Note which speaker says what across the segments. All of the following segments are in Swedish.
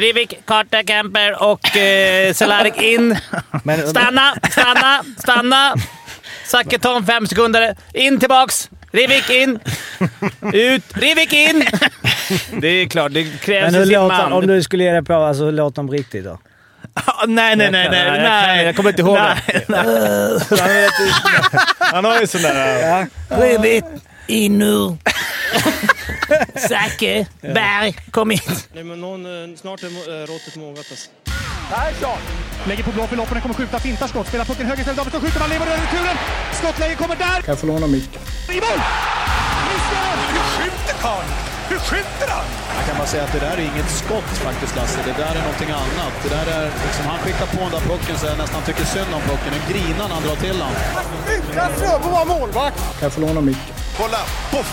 Speaker 1: Rivik, Karta, Kemper och eh, Cehlárik in.
Speaker 2: Men-
Speaker 1: Stanna, stanna, stanna. Zacketon, fem sekunder. In tillbaks. Rivik in. Ut. Rivik in. Det är klart, det krävs
Speaker 2: Men
Speaker 1: men
Speaker 2: hur
Speaker 1: sin
Speaker 2: låter,
Speaker 1: man.
Speaker 2: om du skulle ge dig på, alltså hur låter de på riktigt då?
Speaker 3: Ah, nej, nej, nej, nej,
Speaker 1: jag,
Speaker 3: nej.
Speaker 1: jag kommer inte ihåg
Speaker 3: Nej,
Speaker 1: det.
Speaker 3: Han har ju sån där...
Speaker 2: Ja.
Speaker 1: Rivik, in nu. Zacke, Berg, kom in.
Speaker 4: Nej, men någon, eh, snart är må- eh, råttet mogat. Alltså.
Speaker 5: Persson! Lägger på blå för loppen, den kommer skjuta, fintar skott, spelar pucken höger istället, Davidsson skjuter, man lever över returen! Skottläge kommer där! Kan jag få låna micken? I mål! Missar! Hur skjuter karln? Hur skjuter han?
Speaker 6: Jag kan bara säga att det där är inget skott faktiskt Lasse. Det där är någonting annat. Det där är liksom, han skickar på den där pucken så jag nästan tycker synd om pucken. Nu grinar när han drar till den.
Speaker 5: Utan Fröbo var målvakt! Kan jag få låna micken? Kolla! Poff!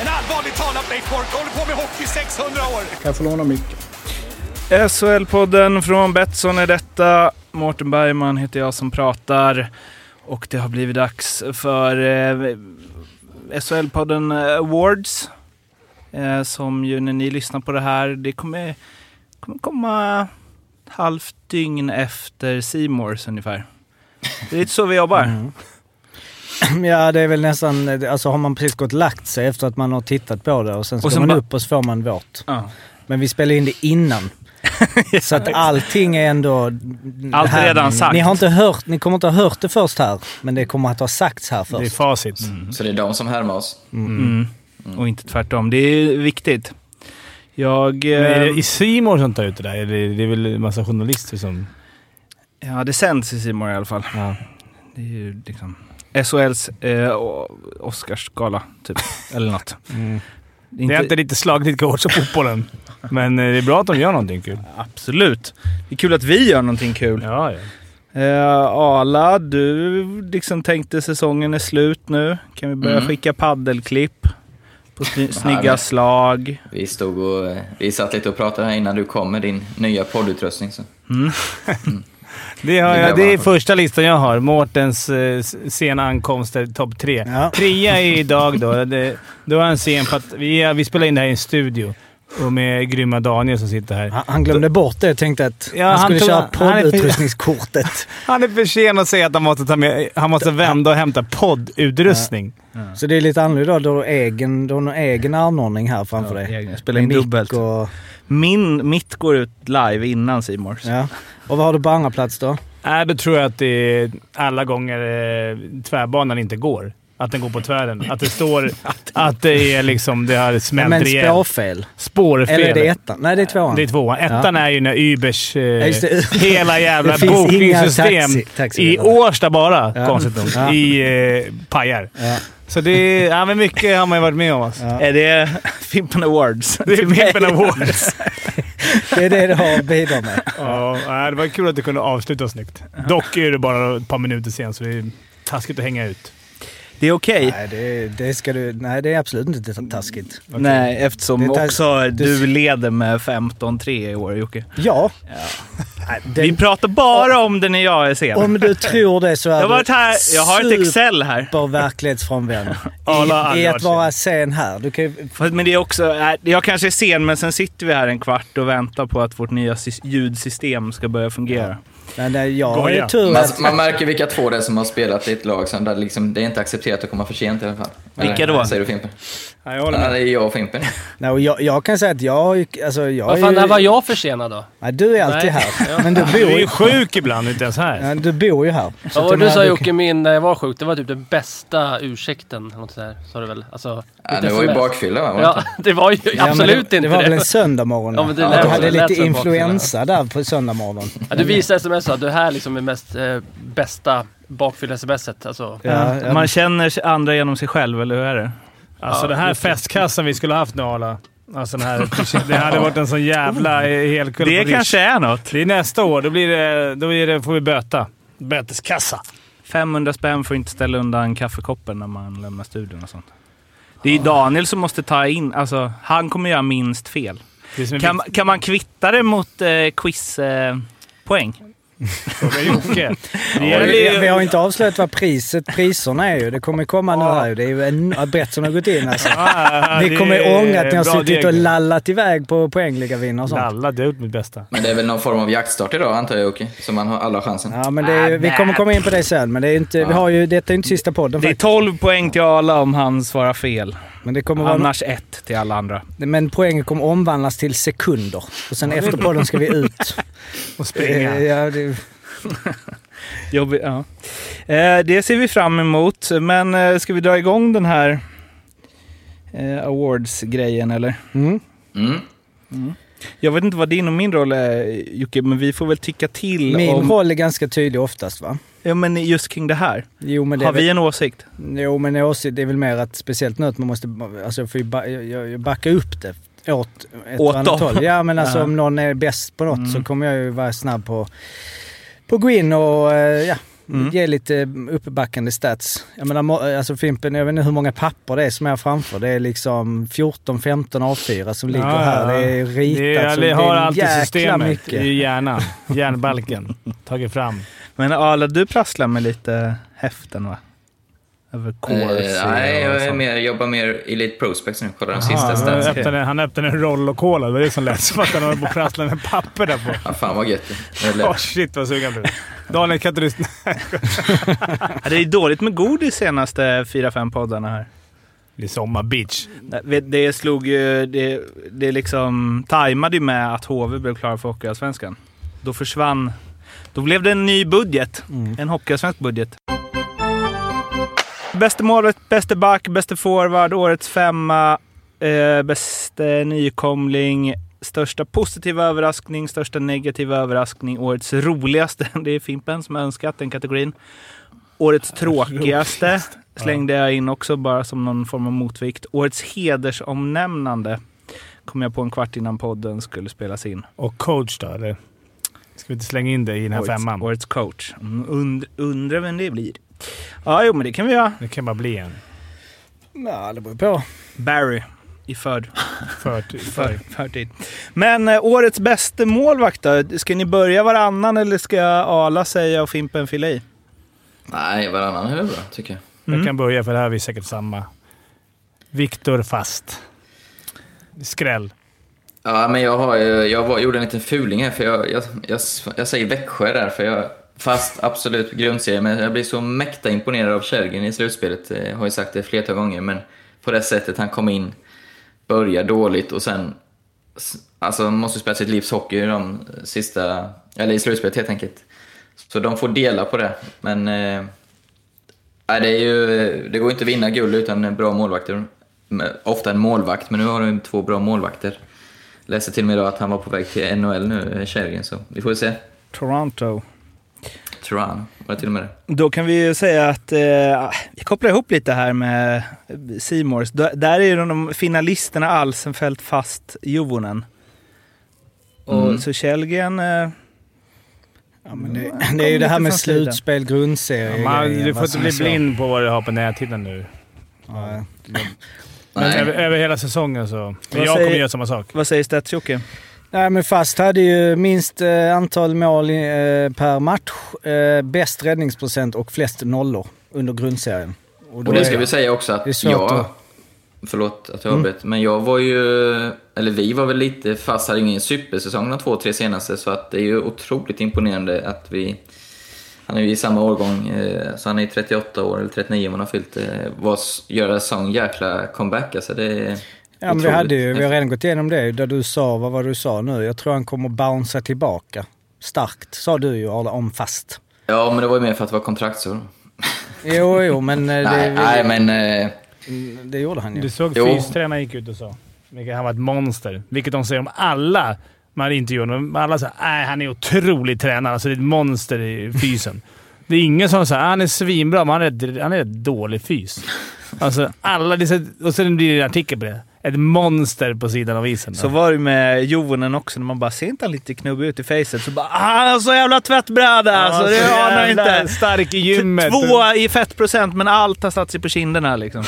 Speaker 5: En allvarligt talat Leif Boork, håller på med hockey i 600 år! Kan jag få låna micken?
Speaker 3: SHL-podden från Betsson är detta. Mårten Bergman heter jag som pratar. Och det har blivit dags för eh, SHL-podden Awards. Eh, som ju när ni lyssnar på det här, det kommer, kommer komma ett halvt dygn efter Simors ungefär. Det är lite så vi jobbar.
Speaker 2: Ja, det är väl nästan... Alltså har man precis gått och lagt sig efter att man har tittat på det och sen ska
Speaker 3: Och sen
Speaker 2: man
Speaker 3: bara-
Speaker 2: upp och så får man vårt.
Speaker 3: Ja.
Speaker 2: Men vi spelar in det innan. så att allting är ändå...
Speaker 3: Allt är
Speaker 2: här.
Speaker 3: redan sagt.
Speaker 2: Ni, har inte hört, ni kommer inte ha hört det först här, men det kommer att ha sagts här
Speaker 7: Det är
Speaker 2: först.
Speaker 7: facit.
Speaker 8: Så det är de som härmar oss.
Speaker 3: Mm. Och inte tvärtom. Det är viktigt. Jag...
Speaker 7: Men är det
Speaker 3: eh,
Speaker 7: i Simon som tar ut det där? Eller det är väl en massa journalister som...
Speaker 3: Ja, det sänds i Simor i alla fall.
Speaker 7: Ja.
Speaker 3: Det är ju liksom SHLs eh, o- Oscarsgala, typ. Eller något.
Speaker 7: Det
Speaker 3: Inte-
Speaker 7: är inte lite slagligt går som fotbollen. Men eh, det är bra att de gör någonting kul.
Speaker 3: Absolut. Det är kul att vi gör någonting kul.
Speaker 7: Ja, ja.
Speaker 3: Eh, Arla, du liksom tänkte säsongen är slut nu. Kan vi börja
Speaker 8: Mm.
Speaker 3: skicka paddelklipp på sny- snygga
Speaker 8: Härligt.
Speaker 3: slag?
Speaker 8: Vi stod och eh, vi satt lite och pratade här innan du kom med din nya poddutrustning. Så.
Speaker 7: Det, har jag,
Speaker 8: Det där var-
Speaker 7: det är första listan jag har. Mårtens eh, s- sena ankomster, topp tre.
Speaker 2: Ja.
Speaker 7: Trea är idag då. Det, då är han sen för att vi, är- vi spelar in det här i en studio. Och med grymma Daniel som sitter här.
Speaker 2: Han- Han glömde bort det och tänkte att
Speaker 7: Ja,
Speaker 2: han
Speaker 7: han
Speaker 2: skulle
Speaker 7: tog-
Speaker 2: köra
Speaker 7: han är-
Speaker 2: poddutrustningskortet.
Speaker 7: Han är för sen att säga att han måste, ta med, han måste vända och hämta poddutrustning.
Speaker 2: Så det är lite annorlunda. Du har egen, du har någon egen anordning här framför dig.
Speaker 3: Jag spelar in
Speaker 2: Med mick
Speaker 3: dubbelt.
Speaker 2: Och,
Speaker 3: Min, mitt går ut live innan Simors.
Speaker 2: ja. och vad har du på andra plats då?
Speaker 7: Nej, då tror jag att det är alla gånger eh, tvärbanan inte går. Att den går på tvären. Att det står att det är liksom... Det har smält
Speaker 2: Men
Speaker 7: rejält.
Speaker 2: spårfel.
Speaker 7: Spårfel.
Speaker 2: Eller är det ettan? Nej, det är tvåan.
Speaker 7: Det är tvåan. Ettan är ju när Ubers eh,
Speaker 2: just det.
Speaker 7: hela jävla
Speaker 2: Det finns inga
Speaker 7: bokningssystem
Speaker 2: taxi- taxibilar.
Speaker 7: i Årsta bara,
Speaker 2: Ja.
Speaker 7: konstigt nog,
Speaker 2: Ja.
Speaker 7: i eh, pajar.
Speaker 2: Ja.
Speaker 7: Så det är... Ja, men mycket har man ju varit med om. Alltså.
Speaker 3: Är det Fimpen Awards?
Speaker 7: Det är Pimpen Awards.
Speaker 2: Det är det du har att bidra med.
Speaker 7: ja, nej, det var kul att du kunde avsluta snyggt. Dock är det bara ett par minuter sen, så det är taskigt att hänga ut.
Speaker 3: Det är okej.
Speaker 2: Nej, det, det ska du... Nej, det är absolut inte taskigt.
Speaker 3: Nej, eftersom
Speaker 2: Det tar-
Speaker 3: också du
Speaker 2: du-
Speaker 3: leder med 15-3 i år, Jocke.
Speaker 2: Ja. Nej, den-
Speaker 3: Vi pratar bara om det när jag är sen.
Speaker 2: Om du tror det så är
Speaker 3: jag, har
Speaker 2: du
Speaker 3: varit här, jag har ett Excel här.
Speaker 2: super verklighetsfrånvänd.
Speaker 7: Alla har
Speaker 2: I, I
Speaker 7: aldrig varit
Speaker 2: att
Speaker 7: sen.
Speaker 2: vara sen här. Du kan ju,
Speaker 3: Fast- Men det är också, äh, jag kanske är sen, men sen sitter vi här en kvart och väntar på att vårt nya sys- ljudsystem ska börja fungera.
Speaker 2: men nej, jag har ju
Speaker 7: Goja.
Speaker 2: tur
Speaker 8: Man,
Speaker 2: att...
Speaker 8: man märker vilka två det är som har spelat i ett lag som där liksom, det är inte accepterat att komma för sent i alla fall.
Speaker 3: Vilka då?
Speaker 8: Säger du Fimpen?
Speaker 7: Ja, jag håller
Speaker 8: Ja,
Speaker 7: med.
Speaker 8: det är jag och Fimpen.
Speaker 2: Nej, och jag, jag kan säga att jag har ju... Alltså, jag
Speaker 9: Vad
Speaker 2: är
Speaker 9: fan,
Speaker 2: ju,
Speaker 9: när var jag försenad då?
Speaker 2: Nej, du är alltid
Speaker 9: Nej.
Speaker 2: här. Men du
Speaker 7: Du
Speaker 2: bor
Speaker 7: är ju
Speaker 2: ju,
Speaker 7: sjuk ibland, inte ens här.
Speaker 2: ja, du bor ju här. Så
Speaker 9: Vad
Speaker 2: att
Speaker 9: var
Speaker 2: jag
Speaker 9: det du
Speaker 2: menar,
Speaker 9: sa
Speaker 2: du-
Speaker 9: Jocke min när jag var sjuk? Det var typ den bästa ursäkten. eller Något sådär, sa du väl? Alltså,
Speaker 8: Ja,
Speaker 9: ett
Speaker 8: det var ju
Speaker 9: sms.
Speaker 8: bakfylla va? Var det
Speaker 9: Ja,
Speaker 8: inte?
Speaker 9: det var ju
Speaker 2: Ja, men
Speaker 9: absolut
Speaker 2: det, det.
Speaker 9: inte
Speaker 2: var väl en
Speaker 9: det.
Speaker 2: söndagmorgon?
Speaker 9: Ja, men det
Speaker 2: jag
Speaker 8: lät-
Speaker 2: hade
Speaker 8: det
Speaker 9: lät
Speaker 2: lite
Speaker 9: som bakfylla.
Speaker 2: influensa där på söndagmorgonen.
Speaker 9: Ja, du visade sms att du här liksom är mest eh, bästa bakfylla-smset. Alltså,
Speaker 2: Ja,
Speaker 7: Eh,
Speaker 2: ja.
Speaker 3: Man känner sig- andra genom sig själv, eller hur är det?
Speaker 7: Alltså den här festkassan vi skulle haft nu Arla. Alltså den här, det hade varit en sån
Speaker 2: Oh.
Speaker 7: jävla eh, helkulle
Speaker 3: Det
Speaker 7: på Rish.
Speaker 3: kanske är något.
Speaker 7: Det är nästa år. Då, blir det, då är det, får vi böta. Böteskassa.
Speaker 3: 500 spänn får inte ställa undan kaffekoppen när man lämnar studion och sånt. Det är ju Daniel som måste ta in, alltså han kommer göra minst fel.
Speaker 7: Det är som en
Speaker 3: Kan, kan man kvitta det mot eh, quizpoäng? Eh, poäng?
Speaker 7: Fråga Jocke. Det
Speaker 2: Vi,
Speaker 7: gäller
Speaker 2: vi,
Speaker 7: ju-
Speaker 2: vi har inte avslöjat vad priset, priserna är ju. Det kommer komma nu här ju. Det är ju en, att Betsson har gått in alltså.
Speaker 7: Ah,
Speaker 2: Ni
Speaker 7: det
Speaker 2: kommer
Speaker 7: är
Speaker 2: ånga att ni har
Speaker 7: bra
Speaker 2: suttit
Speaker 7: deg.
Speaker 2: och lallat iväg på poängligavinnare och sånt.
Speaker 7: Lalla, det är mitt bästa.
Speaker 8: Men det är väl någon form av jaktstart idag antar jag Jocke? Så man har alla chansen.
Speaker 2: Ja, men det är, ju- vi kommer komma in på det sen, men det är inte, vi har ju, detta är inte sista podden
Speaker 3: Det är
Speaker 2: faktiskt.
Speaker 3: 12 poäng till Arla om han svarar fel.
Speaker 2: Men, det kommer vara,
Speaker 3: Annars ett till alla andra.
Speaker 2: men poängen kommer omvandlas till sekunder. Och sen efter podden ska vi ut.
Speaker 7: Och
Speaker 2: Eh,
Speaker 7: springa.
Speaker 2: Ja, det,
Speaker 3: Jobbig, ja. eh, det ser vi fram emot, men eh, ska vi dra igång den här eh, awards-grejen eller?
Speaker 2: mm.
Speaker 8: Mm.
Speaker 3: Jag vet inte vad din och min roll är Jocke, men vi får väl tycka till
Speaker 2: Min
Speaker 3: om...
Speaker 2: roll är ganska tydlig oftast va?
Speaker 3: Ja, men just kring det här.
Speaker 2: Jo men, det är
Speaker 3: Har vi
Speaker 2: väl,
Speaker 3: en åsikt?
Speaker 2: jo, men jag åsikt- det är väl mer att speciellt nu att man måste, alltså jag får ju ba, jag, jag backar upp det. Åt, ett
Speaker 3: Åt
Speaker 2: och annat
Speaker 3: dem.
Speaker 2: håll. Ja men alltså
Speaker 3: Ja.
Speaker 2: om någon är bäst på något
Speaker 3: Mm.
Speaker 2: så kommer jag ju vara snabb på, på att gå in och eh, ja,
Speaker 3: Mm.
Speaker 2: Ge lite uppbackande stats. Jag menar, mo- alltså Fimpen, jag vet inte hur många papper det är som jag har framför. Det är liksom 14-15 A4 som ligger
Speaker 7: Ja,
Speaker 2: här.
Speaker 7: ja.
Speaker 2: Det är ritat.
Speaker 7: Det är,
Speaker 2: så
Speaker 7: jag har alltid
Speaker 2: jäkla
Speaker 7: systemet
Speaker 2: mycket.
Speaker 7: i hjärnan. Hjärnbalken. Tagit fram.
Speaker 3: Men Arla, du prasslar med lite häften va? Över course
Speaker 8: Eh, nej,
Speaker 3: och
Speaker 8: jag är
Speaker 3: sånt.
Speaker 8: mer, jobbar mer Elite Prospects nu. Kollar de sista
Speaker 7: han,
Speaker 8: statsen.
Speaker 7: öppnade, han öppnade en roll och cola. Det var det som lät som att han höll på att prassla med papper där på.
Speaker 8: Ja, fan vad gött det är lätt.
Speaker 7: Åh shit vad sugen jag blev. Daniel, kan inte du...
Speaker 3: Ja, det är dåligt med godis senaste fyra fem poddarna här.
Speaker 7: Det är sommar, bitch.
Speaker 3: Nej, vet- Det slog ju... Det, det liksom tajmade ju med att HV blev klara för Hockeyallsvenskan. Då försvann... Då blev det en ny budget. En Hockeyallsvensk budget. Bäste målvakt, bäste back, bäste forward, årets femma, eh, bäste nykomling, största positiva överraskning, största negativa överraskning, årets roligaste. Det är Fimpen som har önskat den kategorin. Årets tråkigaste slängde jag in också bara som någon form av motvikt. Årets hedersomnämnande kom jag på en kvart innan podden skulle spelas in.
Speaker 7: Och coach då, eller? Ska vi inte slänga in det i den här
Speaker 3: Årets,
Speaker 7: femman?
Speaker 3: årets coach. Mm, und, undrar vem det blir. Ja, jo, men det kan vi göra.
Speaker 7: Det kan bara bli en.
Speaker 2: Ja, det beror på.
Speaker 3: Barry i förd.
Speaker 7: Förtid.
Speaker 3: För, förtid. Men eh, årets bästa målvakt då? Ska ni börja varannan eller ska Ala säga och Fimpen fylla i?
Speaker 8: Nej, varannan är väl bra tycker jag.
Speaker 7: Jag kan börja för det här är vi säkert samma. Viktor Fast. Skräll.
Speaker 8: Ja, men jag, har, ju- jag var, gjorde en liten fuling här för jag, jag, jag, jag säger Växjö där för jag fast absolut grundserie men jag blir så mäkta imponerad av Kjellgren i slutspelet. Jag har ju sagt det flertal gånger men på det sättet han kom in, började dåligt och sen s- alltså man måste ju spela sitt livs hockey i de sista, eller i slutspelet helt enkelt. Så de får dela på det men eh, Nej, det, är ju, det går inte att vinna guld utan bra målvakter. Men- Ofta en målvakt, men nu har de två bra målvakter. Läste till och med idag att han var på väg till NHL nu, eh, Kärgen, så vi får väl se.
Speaker 3: Toronto.
Speaker 8: Tror han. Var det till och med det?
Speaker 3: Då kan vi ju säga att eh, vi kopplar ihop lite här med Simors. Där är ju de finalisterna Alsenfelt fast Jovonen. Och
Speaker 8: Mm.
Speaker 3: så Källgren... Eh,
Speaker 2: Ja, men det, det är ju det här med slutspel, grundserie.
Speaker 7: Man,
Speaker 2: grejer,
Speaker 7: du
Speaker 2: vad
Speaker 7: får inte
Speaker 2: som
Speaker 7: bli
Speaker 2: är så.
Speaker 7: blind på vad du har på näthinnan nu.
Speaker 2: Ja,
Speaker 7: Men över,
Speaker 8: Nej.
Speaker 7: över hela säsongen så. Men
Speaker 3: Vad
Speaker 7: jag kommer
Speaker 3: säger-
Speaker 7: göra samma sak.
Speaker 3: vad säger stats Jocke?
Speaker 2: Nej, men Fast hade ju minst eh, antal mål eh, per match, eh, bäst räddningsprocent och flest nollor under grundserien. då
Speaker 8: Och det
Speaker 2: är-
Speaker 8: ska vi säga också
Speaker 2: det är
Speaker 8: att
Speaker 2: svårt Mm.
Speaker 8: jag...
Speaker 2: att-
Speaker 8: Förlåt att jag avbröt, men jag var ju... Eller vi var väl lite fast, hade ingen supersäsong de två, tre senaste, så att det är ju otroligt imponerande att vi... Han är ju i samma årgång, eh, så han är 38 år, eller 39 om han har fyllt, eh, var, gör en sån jäkla comeback alltså. Det är
Speaker 2: Ja, men vi,
Speaker 8: otroligt.
Speaker 2: hade ju, vi har redan gått igenom det, där du sa, vad var det du sa nu? Jag tror han kommer bouncea tillbaka. Starkt, sa du ju Arla, om Fast.
Speaker 8: Ja, men det var ju mer för att det var kontraktsår.
Speaker 2: Jo, jo, men eh, det,
Speaker 8: Nej, nej, men... Eh,
Speaker 2: det gjorde han
Speaker 7: Du
Speaker 2: ju.
Speaker 7: såg
Speaker 8: Jo.
Speaker 7: fystränaren gick ut och sa. Vilket han var ett monster. Vilket de säger om alla man intervjuar honom. Alla säger nej han är otroligt tränad. Alltså det är ett monster i fysen. Det är ingen som säger "Ah, han är svinbra, men han är, ett- han är ett dålig fys. Alltså alla... det är så- Och sen blir det en artikel på det. Ett monster på sidan av isen.
Speaker 3: Så var det med Jovonen också, när man bara ser inte han lite knubbig ut i facet så bara ah, “Han har så jävla tvättbräda alltså, det har han inte!”
Speaker 7: Stark i gymmet.
Speaker 3: Två i fettprocent, men allt har satt sig på kinderna liksom.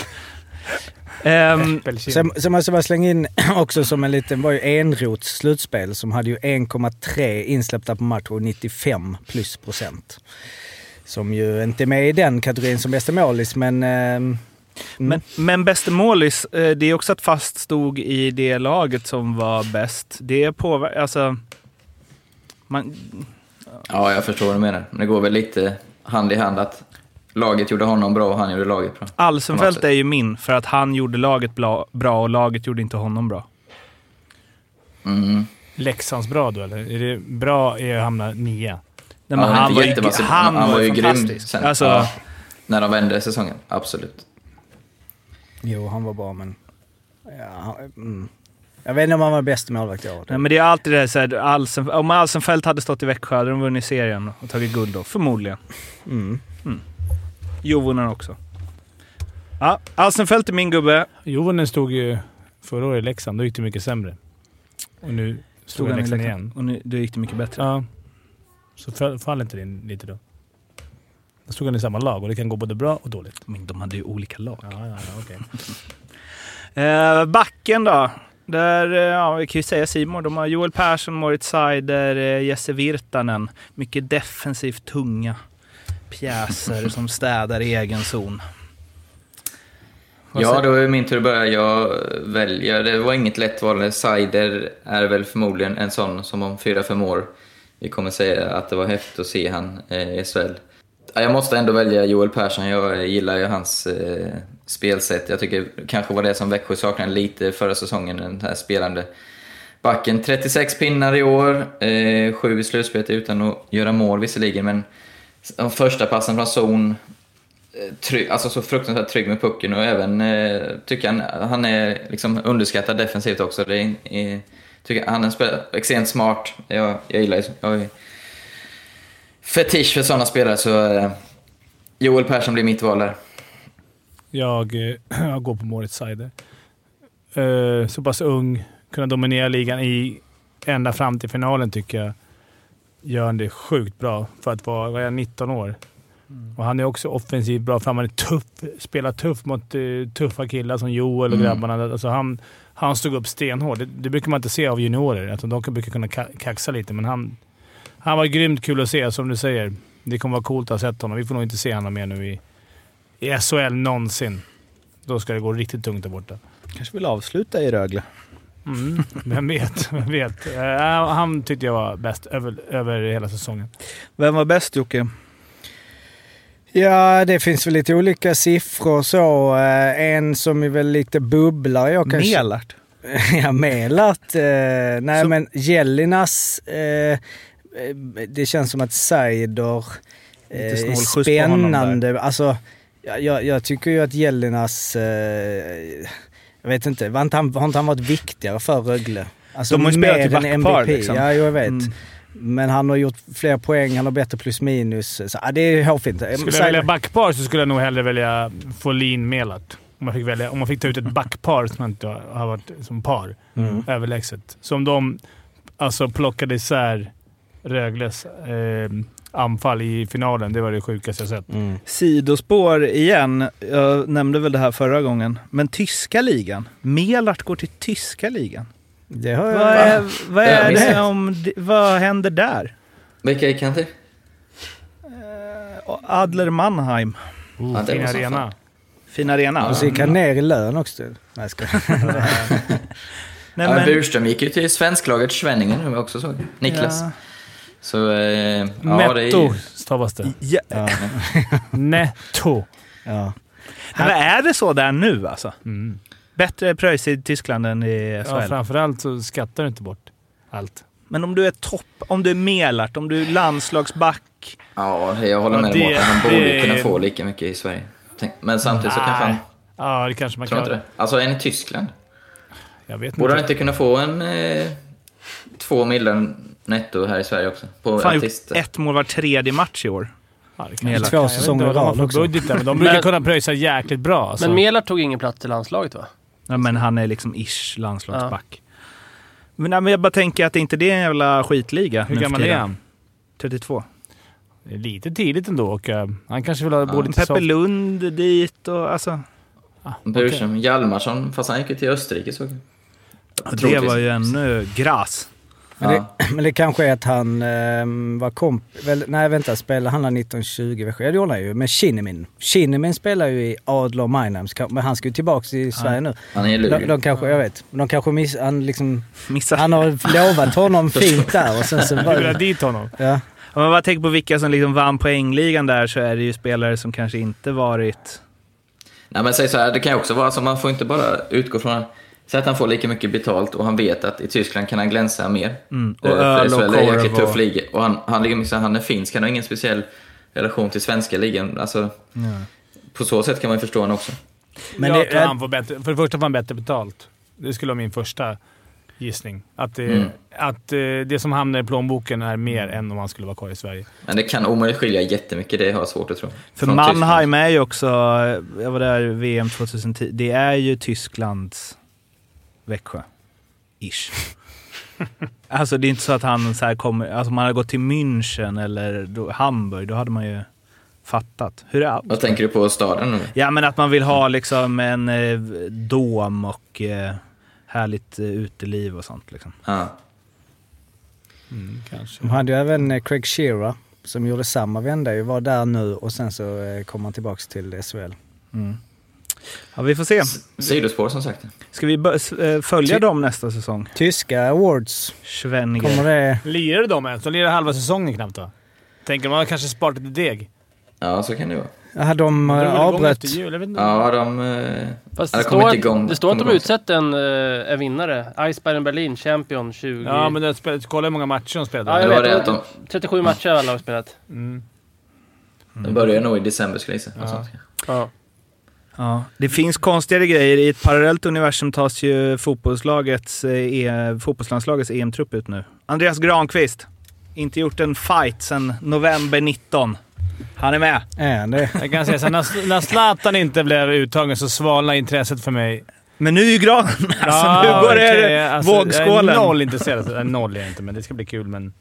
Speaker 3: Ehm,
Speaker 2: Sen, sen måste jag bara slänga in också som en liten, var ju Enrots slutspel som hade ju 1,3 insläppta på match och 95 plus procent. Som ju inte är med i den kategorin som bästa målis, men... ehm,
Speaker 8: Mm.
Speaker 3: men, men bäste målis, eh, det är också att Fast stod i det laget som var bäst. Det påverkar... Alltså... Man,
Speaker 8: Ja, jag förstår vad du menar. Men det går väl lite hand i hand att laget gjorde honom bra och han gjorde laget bra.
Speaker 3: Alsenfelt är ju min för att han gjorde laget bla, bra och laget gjorde inte honom bra.
Speaker 8: Mm.
Speaker 7: Leksands bra då, eller? Är det bra är att hamna nia?
Speaker 3: Nej, men
Speaker 8: Ja,
Speaker 3: han,
Speaker 8: inte
Speaker 3: var ju,
Speaker 8: jättevass, men
Speaker 3: han, var ju
Speaker 8: grym
Speaker 3: fantastisk.
Speaker 8: sen.
Speaker 3: Alltså,
Speaker 8: Ja, när de vände säsongen, absolut.
Speaker 2: Jo, han var bra, men... Ja, han- mm. Jag vet inte om han var bästa målvakt i år.
Speaker 3: nej, men det är alltid det här, så här Alsen, om Alsenfelt hade stått i Växjö hade de vunnit serien och tagit guld då, förmodligen.
Speaker 2: Mm.
Speaker 3: Jovonen också. Ja, Alsenfelt är min gubbe.
Speaker 7: Jovonen stod ju förra året i Leksand. Då gick det mycket sämre. Och nu stod han i Leksand igen.
Speaker 3: Och nu, då gick det mycket bättre.
Speaker 7: Ja. Så föll- faller inte det in lite då? Då stod han i samma lag och det kan gå både bra och dåligt.
Speaker 3: Men de hade ju olika lag.
Speaker 7: Ja, ja, ja, okej.
Speaker 3: Eh, backen då? Där, eh, ja, vi kan ju säga Simon. De har Joel Persson, Moritz Seider, eh, Jesse Virtanen. Mycket defensivt tunga pjäser som städar i egen zon. Vad
Speaker 8: Ja,
Speaker 3: säger-
Speaker 8: då är min tur att börja. Jag väljer. Det var inget lätt val. Seider är väl förmodligen en sån som om fyra fem år vi kommer säga att det var häftigt att se han eh, i SHL. Ja, Jag måste ändå välja Joel Persson. Jag gillar ju hans eh, spelsätt. Jag tycker kanske var det som Växjö saknade lite förra säsongen, den här spelande backen. 36 pinnar i år, eh, sju i slutspelet utan att göra mål visserligen, men de första passen från zon, trygg, alltså så fruktansvärt trygg med pucken och även eh, tycker han, han är liksom underskattad defensivt också. Det är, är, tycker han är spel, extremt smart. Jag, jag gillar ju- jag är fetisch för sådana spelare så eh, Joel Persson blir mitt val där.
Speaker 7: Jag, eh, jag går på Moritz Seider. Eh, så pass ung, kunna dominera ligan i ända fram till finalen tycker jag. Gör han det sjukt bra för att vara vad är jag, 19 år. Och Han är också offensivt bra fram. Han är tuff, spelar tuff mot eh, tuffa killar som Joel och
Speaker 8: Mm.
Speaker 7: grabbarna. Alltså han, han stod upp stenhårt. Det, det brukar man inte se av juniorer. Alltså de kan- brukar kunna ka- kaxa lite, men han, han var grymt kul att se, som du säger. Det kommer vara coolt att ha sett honom. Vi får nog inte se honom mer nu i, i SHL någonsin. Då ska det gå riktigt tungt där borta.
Speaker 2: Kanske vill avsluta i Rögle.
Speaker 7: Mm. Vem vet? Vem vet? Eh, han tyckte jag var bäst över, över hela säsongen.
Speaker 3: Vem var bäst Jocke?
Speaker 2: Ja, det finns väl lite olika siffror så. Eh, En som är väl lite bubblar jag kanske...
Speaker 3: Melart.
Speaker 2: Ja, Melart. Eh, nej,
Speaker 3: Så-
Speaker 2: men Jellinas... Eh, eh, det känns som att Seider eh,
Speaker 3: Lite snålskjuts på
Speaker 2: är
Speaker 3: honom där.
Speaker 2: spännande. Alltså, jag- jag, jag tycker ju att Jellinas... Eh, jag vet inte, var inte han, har inte han varit viktigare för Rögle? Alltså,
Speaker 3: De har ju spelat i
Speaker 2: mer än
Speaker 3: backpar, liksom.
Speaker 2: Ja, jo, jag vet.
Speaker 3: Mm.
Speaker 2: Men han har gjort fler poäng, han har bättre plus minus. Så, ja, det är hårfint. Eh,
Speaker 7: Skulle jag
Speaker 2: Seider-
Speaker 7: välja backpar så skulle jag nog hellre välja Folin Melart. Om man, fick välja, om man fick ta ut ett backpar som inte har varit som par. Överlägset. Så om de alltså, plockade isär Rögles eh, anfall i finalen. Det var det sjukaste jag sett.
Speaker 2: Mm.
Speaker 3: Sidospår igen. Jag nämnde väl det här förra gången. Men tyska ligan. Melart går till tyska ligan.
Speaker 2: Det har
Speaker 3: Vad
Speaker 2: jag...
Speaker 3: är, vad
Speaker 8: Det har jag
Speaker 3: är det
Speaker 8: missat.
Speaker 3: om... Vad händer där?
Speaker 8: Vilka gick han till?
Speaker 3: Och Adler Mannheim.
Speaker 8: Ja, det
Speaker 7: Fin
Speaker 8: var så fan.
Speaker 7: arena.
Speaker 3: Fin arena.
Speaker 2: Och så gick han ner i lön också. Nej, jag skojar.
Speaker 3: Nej,
Speaker 8: ja,
Speaker 3: men-
Speaker 8: Burström gick ju till svensklaget Schwenningen, som jag också såg. Niklas.
Speaker 3: Ja.
Speaker 8: Så, eh, ja, det är ju...
Speaker 7: Netto stavas det.
Speaker 3: Ja.
Speaker 7: Netto.
Speaker 2: Ja.
Speaker 3: Men är det så där nu alltså?
Speaker 7: Mm.
Speaker 3: Bättre pröjs i Tyskland än i SHL.
Speaker 7: Ja, framförallt så skattar du inte bort allt.
Speaker 3: men om du är topp, om du är Melart, om du är landslagsback.
Speaker 8: Ja, jag håller med dig
Speaker 7: Ja, det-
Speaker 8: Mårten. Han borde ju
Speaker 7: det-
Speaker 8: kunna få lika mycket i Sverige. Tänk- Men samtidigt så kanske han...
Speaker 7: Nej. Ja, det kanske man
Speaker 8: Tror
Speaker 7: kan.
Speaker 8: inte det. Alltså, en i Tyskland.
Speaker 7: Jag vet
Speaker 8: Borde han
Speaker 7: inte.
Speaker 8: inte kunna få en... Eh, två miljoner netto här i Sverige också? På
Speaker 3: Fan, gjort
Speaker 8: artister.
Speaker 3: ett mål var tredje match i år.
Speaker 7: Ja, det
Speaker 3: Melart.
Speaker 7: kanske.
Speaker 2: Två säsonger i
Speaker 7: Jag vet inte vad de
Speaker 2: rad
Speaker 7: har för
Speaker 2: också.
Speaker 7: budget där, men de brukar
Speaker 9: Men-
Speaker 7: kunna pröjsa jäkligt bra. Alltså.
Speaker 9: Men Melar tog ingen plats i landslaget va?
Speaker 3: Ja, men han är liksom ish landslagsback. Men, nej, men jag bara tänker att inte det är en jävla skitliga. nu
Speaker 7: Hur
Speaker 3: för
Speaker 7: gammal är
Speaker 3: tiden.
Speaker 7: han?
Speaker 3: 32.
Speaker 7: Det är Lite tidigt ändå och eh, han kanske vill ha... Borde inte
Speaker 3: Peppe
Speaker 7: soft-
Speaker 3: Lund dit och alltså...
Speaker 8: Burström. Hjalmarsson, fast han gick ju till Österrike såg jag.
Speaker 3: Det
Speaker 8: Troligtvis.
Speaker 3: var ju ännu gräs.
Speaker 2: Men,
Speaker 8: Ja.
Speaker 2: det, men det kanske är att han ehm, var komp... Väl, nej vänta, spelade han 1920? Växjö? Ja det gjorde han ju. Men Kinnimin. Kinnimin spelar ju i Adler Mannheims kamp, men han ska ju tillbaka till Sverige nu.
Speaker 8: Han är i
Speaker 2: De,
Speaker 8: Luleå.
Speaker 2: de kanske, jag vet, de kanske miss, han liksom...
Speaker 3: Missade.
Speaker 2: Han har lovat honom fint där och sen så
Speaker 7: Du vill ha
Speaker 2: var
Speaker 7: dit honom?
Speaker 2: ja.
Speaker 3: Om man bara tänker på vilka som liksom vann poängligan där så är det ju spelare som kanske inte varit...
Speaker 8: Nej men säg så här, det kan ju också vara, alltså, man får inte bara utgå från... Säg att han får lika mycket betalt och han vet att i Tyskland kan han glänsa mer.
Speaker 3: Mm. Och
Speaker 8: Eh, för
Speaker 3: öl och
Speaker 8: SHL är en jäkligt
Speaker 3: korv och-
Speaker 8: tuff liga. Och han, han, liksom, så han är finsk, han har ingen speciell relation till svenska ligan. Alltså, på så sätt kan man ju förstå honom också.
Speaker 7: Men
Speaker 2: Men
Speaker 7: jag
Speaker 2: det-
Speaker 7: tror han får bättre. För det första får han bättre betalt. Det skulle vara min första gissning. Att, det-
Speaker 8: Mm.
Speaker 7: att eh, det som hamnar i plånboken är mer än om han skulle vara kvar i Sverige.
Speaker 8: Men det kan omöjligt skilja jättemycket, det har jag svårt att tro.
Speaker 3: För
Speaker 8: Från
Speaker 3: Mannheim är ju också... Jag var där i VM 2010. Det är ju Tysklands Växjö. Ish. alltså det är inte så att han så här kommer... Alltså om man hade gått till München eller då, Hamburg, då hade man ju fattat. Hur är
Speaker 8: Vad tänker du på staden nu?
Speaker 3: Ja, men att man vill ha liksom en eh, dom och eh, härligt eh, uteliv och sånt. Liksom.
Speaker 8: Ja.
Speaker 2: De hade ju även eh, Craig Shearer som gjorde samma vända ju, var där nu och sen så eh, kom han tillbaka till SHL.
Speaker 3: Ja, vi får se.
Speaker 8: Sidospår som sagt.
Speaker 3: Ska vi bör- s- eh, följa
Speaker 2: Ty-
Speaker 3: dem nästa säsong?
Speaker 2: Tyska awards, kommer
Speaker 3: Schwenninger.
Speaker 2: det...
Speaker 7: Lirar de ens? De lirar halva säsäsongen knappt va? Tänker man har kanske sparat lite deg.
Speaker 8: Ja, så kan det vara.
Speaker 2: Ja, de
Speaker 7: De
Speaker 2: eh,
Speaker 7: drog väl igång
Speaker 2: avbröt...
Speaker 7: efter jul, jag vet inte.
Speaker 8: Ja, de... eh,
Speaker 9: Fast
Speaker 8: Ja, det
Speaker 9: det,
Speaker 8: kommer
Speaker 9: står
Speaker 8: inte igång-
Speaker 9: att, det står att de
Speaker 8: kommer igång.
Speaker 9: utsett en eh, en vinnare. Eisbergen Berlin, Champion 20...
Speaker 7: Ja, men de spelade, kolla hur många matcher de
Speaker 9: Ja,
Speaker 7: spelade.
Speaker 9: jag
Speaker 8: det var
Speaker 9: vet,
Speaker 8: det att de,
Speaker 9: 37 matcher alla har spelat.
Speaker 8: de börjar nog i december skulle jag gissa. Alltså, Något sånt.
Speaker 9: Ja.
Speaker 3: Ja. Det finns konstigare grejer. I ett parallellt universum tas ju fotbollslagets, eh, e- fotbollslandslagets EM-trupp ut nu. Andreas Granqvist. Inte gjort en fight sedan november 19. Han är med.
Speaker 2: Ja, det...
Speaker 7: Jag kan säga så här, när, när Zlatan inte blev uttagen så svalnade intresset för mig.
Speaker 3: Men nu är ju Gran... Alltså, nu börjar
Speaker 7: okej,
Speaker 3: det
Speaker 7: alltså, Jag
Speaker 3: vågskålen.
Speaker 7: är noll intresserad. Alltså, Noll är jag inte, men det ska bli kul. Men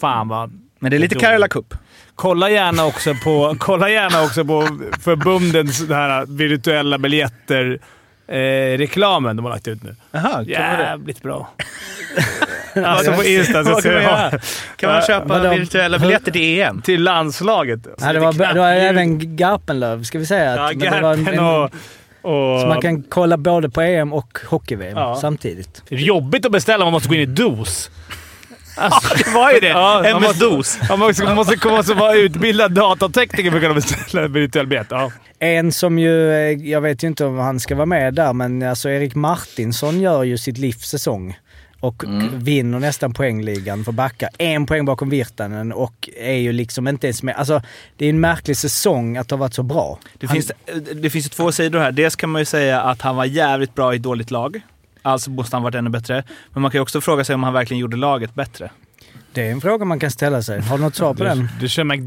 Speaker 7: fan vad...
Speaker 3: Men det är lite
Speaker 7: Jag tror-
Speaker 3: Karela Cup.
Speaker 7: Kolla gärna också på, kolla gärna också på förbundens det här virtuella biljetter-reklamen de har lagt ut nu.
Speaker 3: Jaha,
Speaker 7: Jävligt bra. alltså på Insta så
Speaker 3: Vad kan
Speaker 7: ser
Speaker 3: man
Speaker 7: jag
Speaker 3: göra? Kan man köpa
Speaker 2: vadå?
Speaker 3: virtuella biljetter till E EM?
Speaker 7: till landslaget.
Speaker 2: Ja, det var, det var även Garpenlöv, ska vi säga. Att,
Speaker 7: Ja,
Speaker 2: men det var en,
Speaker 7: Garpen
Speaker 2: en,
Speaker 7: och...
Speaker 2: så man
Speaker 7: och
Speaker 2: kan kolla både på EM och hockey-VM
Speaker 7: Ja.
Speaker 2: samtidigt.
Speaker 7: Jobbigt att beställa, man måste gå in i dos. Alltså,
Speaker 3: Det var ju det.
Speaker 7: Ja, man måste-
Speaker 3: MS-DOS.
Speaker 7: Man måste, man måste, man måste vara utbildad datatekniker för att kunna beställa en virtuell biljett. Ja.
Speaker 2: En som ju, eh, jag vet ju inte om han ska vara med där, men alltså Erik Martinsson gör ju sitt livssäsong. Och
Speaker 3: Mm.
Speaker 2: vinner nästan poängligan för backar. En poäng bakom Virtanen och är ju liksom inte ens med. Alltså, det är en märklig säsong att ha varit så bra.
Speaker 3: Det finns, eh, det finns ju två sidor här. Dels kan man ju säga att han var jävligt bra i ett dåligt lag. Alltså måste han varit ännu bättre. Men man kan ju också fråga sig om han verkligen gjorde laget bättre.
Speaker 2: Det är en fråga man kan ställa sig. Har du något svar på den?
Speaker 7: Du, du kör
Speaker 3: Exakt.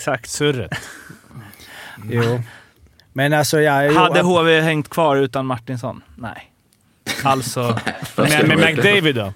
Speaker 7: McDavid-surret.
Speaker 2: Jo. Men alltså, ja... jo,
Speaker 3: Hade
Speaker 2: att-
Speaker 3: HV hängt kvar utan Martinsson? Nej. Alltså...
Speaker 7: Men med McDavid då?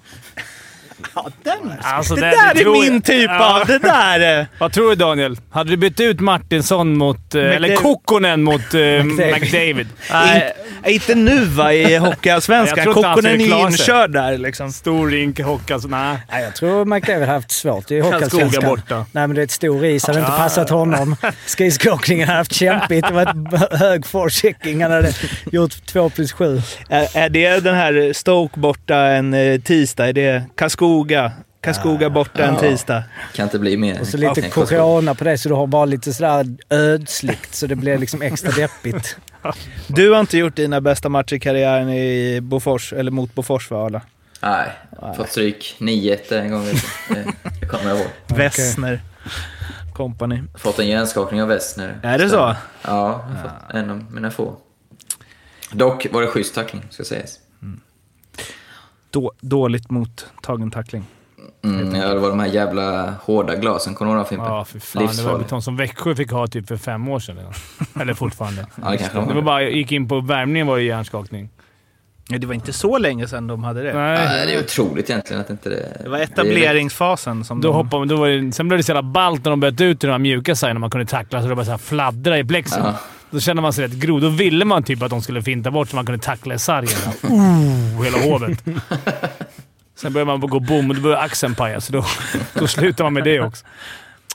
Speaker 3: ja, den.
Speaker 7: Alltså,
Speaker 3: Det
Speaker 7: nej,
Speaker 3: där
Speaker 7: det
Speaker 3: är
Speaker 7: tror
Speaker 3: min
Speaker 7: jag-
Speaker 3: typ
Speaker 7: Ja.
Speaker 3: av... Det där är...
Speaker 7: Vad tror du Daniel? Hade du bytt ut Martinsson mot... eh, Eller Kokkonen mot eh,
Speaker 2: McDavid.
Speaker 7: McDavid?
Speaker 3: Nej, inte nu va, i
Speaker 7: Jag
Speaker 3: Hockeyallsvenskan.
Speaker 7: tror inte han
Speaker 3: Kokkonen är
Speaker 7: skulle klara sig.
Speaker 3: inkörd där liksom.
Speaker 7: Stor rink, hockey, alltså. Nej.
Speaker 2: Nej, jag tror McDavid har haft svårt i
Speaker 7: Karlskoga
Speaker 2: Hockeyallsvenskan.
Speaker 7: borta.
Speaker 2: Nej, men det är ett stor is. hade inte passat honom. Skridskoåkningen hade haft kämpigt. Det var ett b- hög forechecking. Han hade gjort två plus sju.
Speaker 3: Är, är det den här Stoke borta en eh, tisdag? Är det Karlskoga? Karlskoga borta en
Speaker 8: Ja.
Speaker 3: tisdag?
Speaker 8: Kan inte bli mer.
Speaker 2: Och så lite
Speaker 8: Tänk på skott.
Speaker 2: corona på det, så du har bara lite sådär ödsligt. Så det blir liksom extra deppigt.
Speaker 3: Du har inte gjort dina bästa matcher i karriären i Bofors, eller mot Bofors va, Arla?
Speaker 8: Nej, fått stryk 9-1 en gång. vet du. Det- Det kommer jag ihåg.
Speaker 3: Wessner Company.
Speaker 8: Fått en hjärnskakning av Wessner.
Speaker 3: Är det så?
Speaker 8: Ja, jag har fått en av mina få. Dock var det schysst tackling, ska sägas.
Speaker 3: Då, dåligt mottagen tackling.
Speaker 8: Mm, ja, det var de här jävla hårda glasen. Kommer du ihåg dem Fimpen?
Speaker 7: Ja, fy fan. Det var
Speaker 8: Livsfarligt.
Speaker 7: betong som Växjö fick ha typ för fem år sedan. redan. Eller fortfarande.
Speaker 8: Ja, det kanske de
Speaker 7: Det var
Speaker 8: hade.
Speaker 7: bara, jag gick in på värmningen var det hjärnskakning.
Speaker 3: Ja, det var inte så länge sedan de hade det.
Speaker 7: Nej.
Speaker 8: Nej, det är otroligt egentligen att inte det...
Speaker 3: Det var etableringsfasen som
Speaker 7: Då
Speaker 3: de...
Speaker 7: hoppade, då var det, sen blev det så jävla ballt när de bytte ut till de här mjuka sargerna man kunde tackla så det bara så här fladdra i plexen.
Speaker 8: Ja.
Speaker 7: Då kände man sig rätt grov. Då ville man typ att de skulle finta bort så man kunde tackla i sargen. Oh, hela hovet. Sen började man gå bom och då började axeln paja, så då, då slutar man med det också.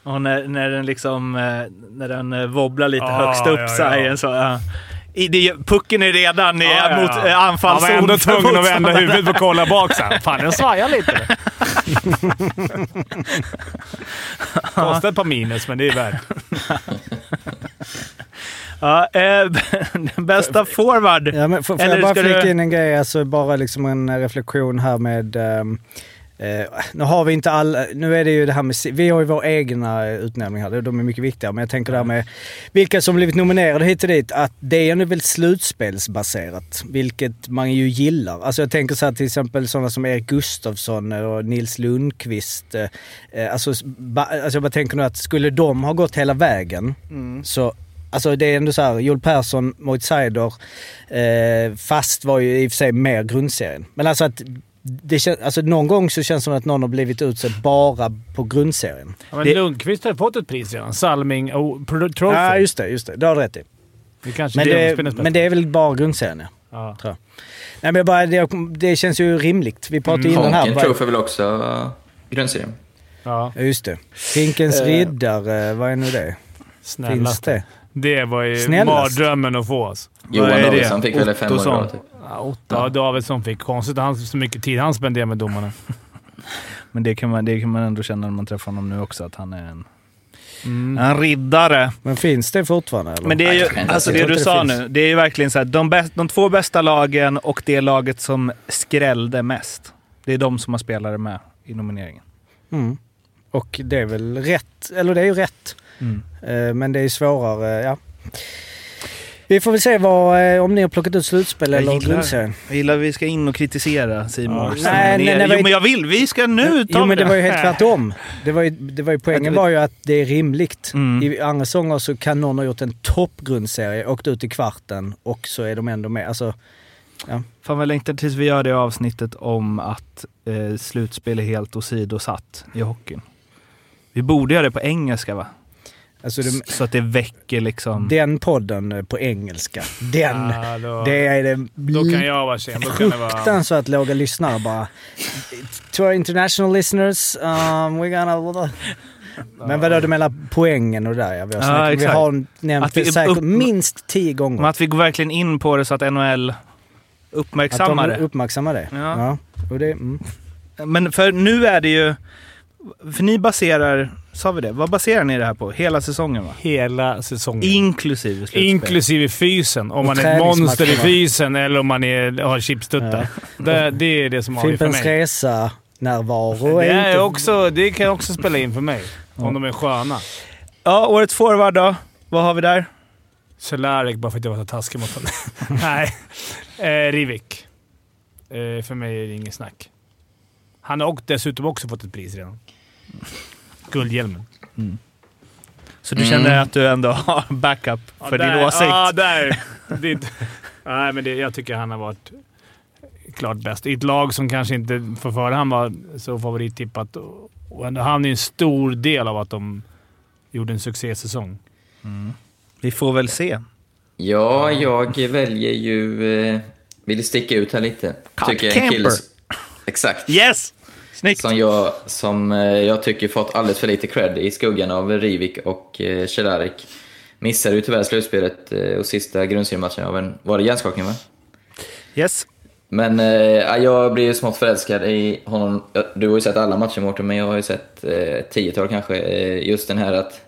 Speaker 3: Och när, när den liksom eh, när den eh, wobblar lite
Speaker 7: Ah,
Speaker 3: högst upp
Speaker 7: ja,
Speaker 3: så här
Speaker 7: ja.
Speaker 3: igen så... ja. I, det, pucken är redan i
Speaker 7: Ja, ja, ja.
Speaker 3: mot eh, anfallszon.
Speaker 7: Man var ändå
Speaker 3: för
Speaker 7: tvungen att vända
Speaker 3: motståndaren.
Speaker 7: huvudet och kolla bak så här. Fan, den svajar lite. Kostar ett par minus, men det är värt.
Speaker 3: Ja, eh, den bästa forward.
Speaker 2: Ja, men får, får
Speaker 3: Eller
Speaker 2: jag bara
Speaker 3: ska
Speaker 2: flika
Speaker 3: du-
Speaker 2: in en grej, alltså bara liksom en reflektion här med... ehm, eh, nu har vi inte alla, nu är det ju det här med, si- vi har ju våra egna eh, utnämningar, de- de är mycket viktiga, men jag tänker det här med vilka som blivit nominerade hit och dit, att det är ju nu väldigt slutspelsbaserat, vilket man ju gillar. Alltså jag tänker så här till exempel sådana som Erik Gustafsson och Nils Lundqvist. eh, Eh, alltså, s- ba, alltså jag bara tänker nu att skulle de ha gått hela vägen så Alltså det är ändå så här, Joel Persson, Moit Seider, eh, fast var ju i och för sig mer grundserien. Men alltså att det kän, alltså någon gång så känns det som att någon har blivit utsedd bara på grundserien.
Speaker 7: Ja, men
Speaker 2: Det-
Speaker 7: Lundqvist har ju fått ett pris redan. Salming oh, Pro- Trophy.
Speaker 2: Ja, just det. Just det. Det har du rätt i.
Speaker 7: det kanske
Speaker 2: Men
Speaker 7: är det,
Speaker 2: det,
Speaker 7: som spelar
Speaker 2: men
Speaker 7: spel.
Speaker 2: det är väl bara grundserien, ja.
Speaker 7: ja.
Speaker 2: Nej, men bara, det, det känns ju rimligt. Vi pratade ju innan här.
Speaker 8: Honken
Speaker 2: Bara,
Speaker 8: Trophy är väl också grundserien?
Speaker 7: Ja,
Speaker 2: Ja, just det. Finkens riddare, vad är nu det? Finns
Speaker 7: snällast.
Speaker 2: det?
Speaker 7: Det var ju
Speaker 2: Snällast.
Speaker 7: mardrömmen att få. Alltså.
Speaker 8: Johan
Speaker 7: är det?
Speaker 8: Davidsson fick väl fem år
Speaker 7: Ottosson.
Speaker 8: idag, typ.
Speaker 7: Ja, Otta ja. Davidsson fick. Konstigt att han så mycket tid han spenderar med domarna.
Speaker 3: Men det kan, man, det kan man ändå känna när man träffar honom nu också, att han är en, en riddare.
Speaker 7: Mm.
Speaker 2: Men finns det fortfarande? Eller?
Speaker 3: Mm. Men det är ju,
Speaker 8: Jag kan inte
Speaker 3: alltså
Speaker 8: se.
Speaker 3: det
Speaker 2: Jag tror
Speaker 3: du
Speaker 2: inte
Speaker 3: sa
Speaker 2: det finns.
Speaker 3: nu, det är ju verkligen så här, de, bäst, de två bästa lagen och det laget som skrällde mest. Det är de som har spelare med i nomineringen.
Speaker 2: Mm. Och det är väl rätt, eller det är ju rätt.
Speaker 3: Mm.
Speaker 2: Eh, Men det är ju svårare, ja. Vi får väl se vad, eh, om ni har plockat ut slutspel
Speaker 3: Jag
Speaker 2: eller
Speaker 3: gillar-
Speaker 2: grundserien.
Speaker 3: Jag gillar att vi ska in och kritisera Simon.
Speaker 2: Ja. Nej, nej, nej,
Speaker 3: jo,
Speaker 2: vi-
Speaker 3: men jag vill! Vi ska nu ta
Speaker 2: Jo men det
Speaker 3: det.
Speaker 2: var ju helt tvärtom. Det var ju, det var ju, poängen var ju att det är rimligt.
Speaker 3: Mm.
Speaker 2: I andra säsonger så kan någon ha gjort en toppgrundserie, åkt ut i kvarten och så är de ändå med. Alltså,
Speaker 3: Fan vad jag längtar tills vi gör det avsnittet om att eh, slutspel är helt åsidosatt i hockeyn. Vi borde göra det på engelska va?
Speaker 2: alltså
Speaker 3: S-
Speaker 2: de,
Speaker 3: Så att det väcker liksom...
Speaker 2: den podden eh, på engelska. Den!
Speaker 3: Ah.
Speaker 7: Ja, då,
Speaker 2: Det är det
Speaker 7: då kan jag vara sen. Då kan det vara...
Speaker 2: fruktansvärt låga lyssnare bara. To our international listeners, um, we're gonna... Men vadå, du menar poängen och det där? Ja, vi, har
Speaker 3: Ja,
Speaker 2: snackat, vi
Speaker 3: exakt.
Speaker 2: har nämnt
Speaker 3: Att vi
Speaker 2: det säkert
Speaker 3: upp-
Speaker 2: minst tio gånger.
Speaker 3: Men att vi går verkligen in på det så att NHL
Speaker 2: Att
Speaker 3: uppmärksammar
Speaker 2: de
Speaker 3: det.
Speaker 2: uppmärksammar det.
Speaker 3: Ja.
Speaker 2: Och det mm.
Speaker 3: Men för nu är det ju... För ni baserar... Sa vi det? Vad baserar ni det här på? Hela säsongen va?
Speaker 7: Hela säsongen.
Speaker 3: Inklusive slutspel.
Speaker 7: Inklusive fysen. Om
Speaker 2: Och
Speaker 7: man är ett monster i
Speaker 2: träningsmatcherna.
Speaker 7: fysen eller om man är, har chipstuttar. Det, det är det som avgör för
Speaker 2: Fimpens
Speaker 7: mig.
Speaker 2: Resa-närvaro
Speaker 7: Det,
Speaker 2: är
Speaker 7: är
Speaker 2: inte...
Speaker 7: också, det kan också spela in för mig. Om de är sköna.
Speaker 3: Ja, årets forward då? Vad har vi där?
Speaker 7: Cehlarik bara för att jag var så taskig mot honom. Nej. Eh, Rivik. Eh, för mig är det inget snack. Han har och dessutom också fått ett pris redan. Guldhjälmen.
Speaker 3: Så du känner att du ändå har backup för
Speaker 7: Mm. Ja,
Speaker 3: din
Speaker 7: där-
Speaker 3: åsikt?
Speaker 7: Ja, där. Det är inte- nej, men det, jag tycker han har varit klart bäst. I ett lag som kanske inte för förhand var så favorittippat. Och, och ändå, han är en stor del av att de gjorde en succésäsong.
Speaker 3: Vi får väl se.
Speaker 8: Ja, jag väljer ju... Eh, vill sticka ut här lite.
Speaker 3: Cut
Speaker 8: Tycker jag är en kille
Speaker 3: Camper.
Speaker 8: som- Exakt.
Speaker 3: Yes! Snyggt!
Speaker 8: Som jag, som eh, jag tycker fått alldeles för lite cred i skuggan av Rivik och eh, Cehlarik. Missade ju tyvärr slutspelet eh, och sista grundseriematchen av en... Var det hjärnskakning, va?
Speaker 3: Yes.
Speaker 8: Men eh, ja, jag blir ju smått förälskad i honom. Ja, Du har ju sett alla matcher Mårten, men jag har ju sett eh, ett tiotal kanske. Eh, just den här att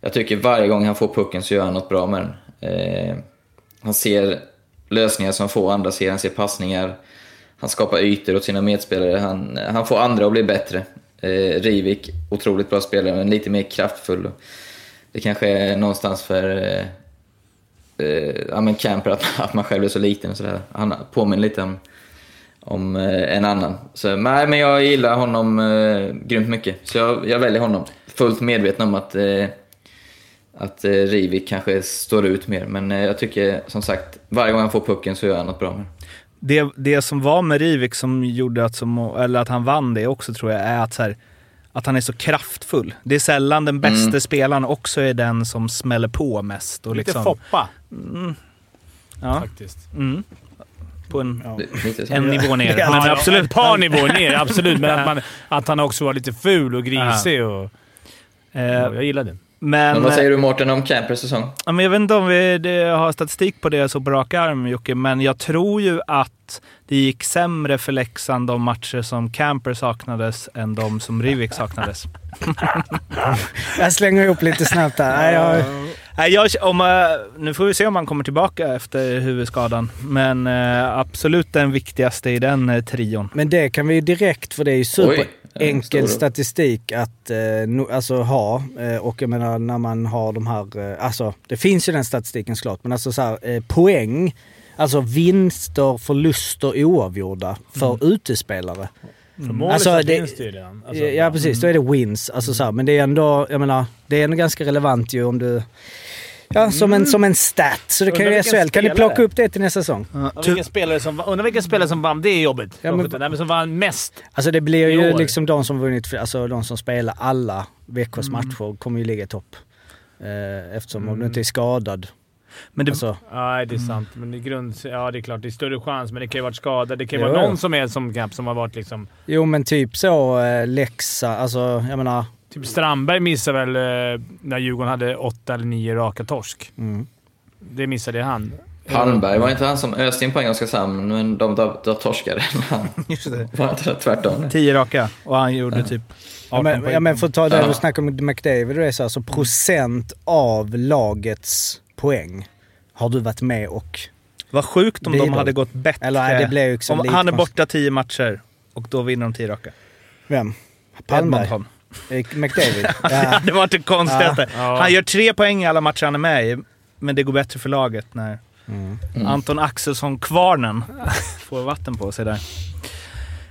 Speaker 8: jag tycker varje gång han får pucken så gör han något bra med den. Eh, han ser lösningar som få andra ser, han ser passningar. Han skapar ytor åt sina medspelare. Han, han får andra att bli bättre. Eh, Rivik, otroligt bra spelare, men lite mer kraftfull. Det kanske är någonstans för eh, eh, ja, men camper, att, att man själv är så liten och sådär. Han påminner lite om, om eh, en annan. Så, nej, men jag gillar honom eh, grymt mycket. Så jag, jag väljer honom. Fullt medveten om att, eh, att eh, Rivik kanske står ut mer. Men eh, jag tycker som sagt, varje gång han får pucken så gör han något bra med det.
Speaker 3: Det, det som var med Rivik som gjorde att, som, eller att han vann det också tror jag är att så här, att han är så kraftfull. Det är sällan den bästa
Speaker 8: Mm.
Speaker 3: spelaren också är den som smäller på mest. Och
Speaker 7: Lite
Speaker 3: liksom,
Speaker 7: Foppa
Speaker 3: ja,
Speaker 7: faktiskt.
Speaker 3: mm. På en,
Speaker 8: Lite så.
Speaker 3: en nivå ner. Men
Speaker 7: Ja, men
Speaker 3: absolut.
Speaker 7: absolut. Ett par nivåer ner, absolut. Men att, man, att han också var lite ful och grisig. Och,
Speaker 3: Eh,
Speaker 7: och jag gillade det.
Speaker 3: Men,
Speaker 8: Men vad säger du Mårten om Campers säsong?
Speaker 3: Ja, men jag vet inte om vi det, har statistik på det så på rak arm Jocke, men jag tror ju att det gick sämre för Leksand de matcher som Camper saknades än de som Rivik saknades.
Speaker 2: Jag slänger ihop lite snabbt där. Nej, jag,
Speaker 3: Nej, jag, om, eh, nu får vi se om han kommer tillbaka efter huvudskadan, men eh, absolut den viktigaste i den eh, trion.
Speaker 2: men det kan vi ju direkt, för det är ju
Speaker 8: Oj, en stor-
Speaker 2: superenkel statistik att eh, no, alltså, ha. Eh, och jag menar när man har de här, eh, alltså det finns ju den statistiken såklart, men alltså så här, eh, poäng, alltså vinster, förluster, oavgjorda för utespelare.
Speaker 7: För målet
Speaker 2: Alltså,
Speaker 7: så
Speaker 2: det-
Speaker 7: finns Mm. det ju redan. Alltså,
Speaker 2: ja precis, då är det wins. Alltså, så här, men det är ändå, jag menar, det är ändå ganska relevant ju om du... Ja, som en, som en stat. Så det kan
Speaker 7: Undrar
Speaker 2: ju
Speaker 7: vilken
Speaker 2: SHL, kan ni
Speaker 7: spelare.
Speaker 2: plocka upp det till nästa säsong?
Speaker 7: Ja, vilken spelare som, undrar vilken spelare som vann. Det är jobbigt.
Speaker 2: Ja, men-
Speaker 7: Nej, men som vann mest.
Speaker 2: Alltså det blir
Speaker 7: I
Speaker 2: ju
Speaker 7: år.
Speaker 2: liksom de som vunnit, alltså de som spelar alla
Speaker 3: Mm.
Speaker 2: veckors matcher kommer ju ligga i topp. Eh, Eftersom om du inte är skadad.
Speaker 3: Mm. Men det,
Speaker 2: Alltså,
Speaker 7: Nej, det är sant. Men i grund, ja, det är klart. Det är större chans, men det kan ju ha varit skadad. Det kan ju
Speaker 2: Jo,
Speaker 7: vara någon
Speaker 2: jo.
Speaker 7: som är som Camp som har varit liksom...
Speaker 2: jo men typ så eh, Lexa, alltså jag menar...
Speaker 7: Typ Strandberg missade väl eh, när Djurgården hade åtta eller nio raka torsk.
Speaker 2: Mm.
Speaker 7: Det missade han.
Speaker 8: Palmberg, var inte han som öste in poäng i Oskarshamn, men de, de, de torskade?
Speaker 3: just det.
Speaker 8: Var inte det tvärtom?
Speaker 3: Tio raka och han gjorde typ 18
Speaker 2: Ja men,
Speaker 3: poäng. Mm.
Speaker 2: ja, men för att ta det
Speaker 8: Ja.
Speaker 2: du snackade om McDavid och det är så, alltså procent av lagets poäng har du varit med och...
Speaker 3: Vad sjukt om de
Speaker 2: Bidrag.
Speaker 3: hade gått bättre.
Speaker 2: Eller nej, det blir ju liksom
Speaker 3: om
Speaker 2: lite
Speaker 3: han är
Speaker 2: konstigt.
Speaker 3: borta tio matcher och då vinner de tio raka.
Speaker 2: Vem? Palmberg?
Speaker 3: Edmonton.
Speaker 2: Eh, McDavid? Ja.
Speaker 3: Det var det konstigaste.
Speaker 7: Ja.
Speaker 3: Han gör tre poäng i alla matcher han är med i, men det går bättre för laget när Anton Axelsson, Kvarnen, får vatten på sig där.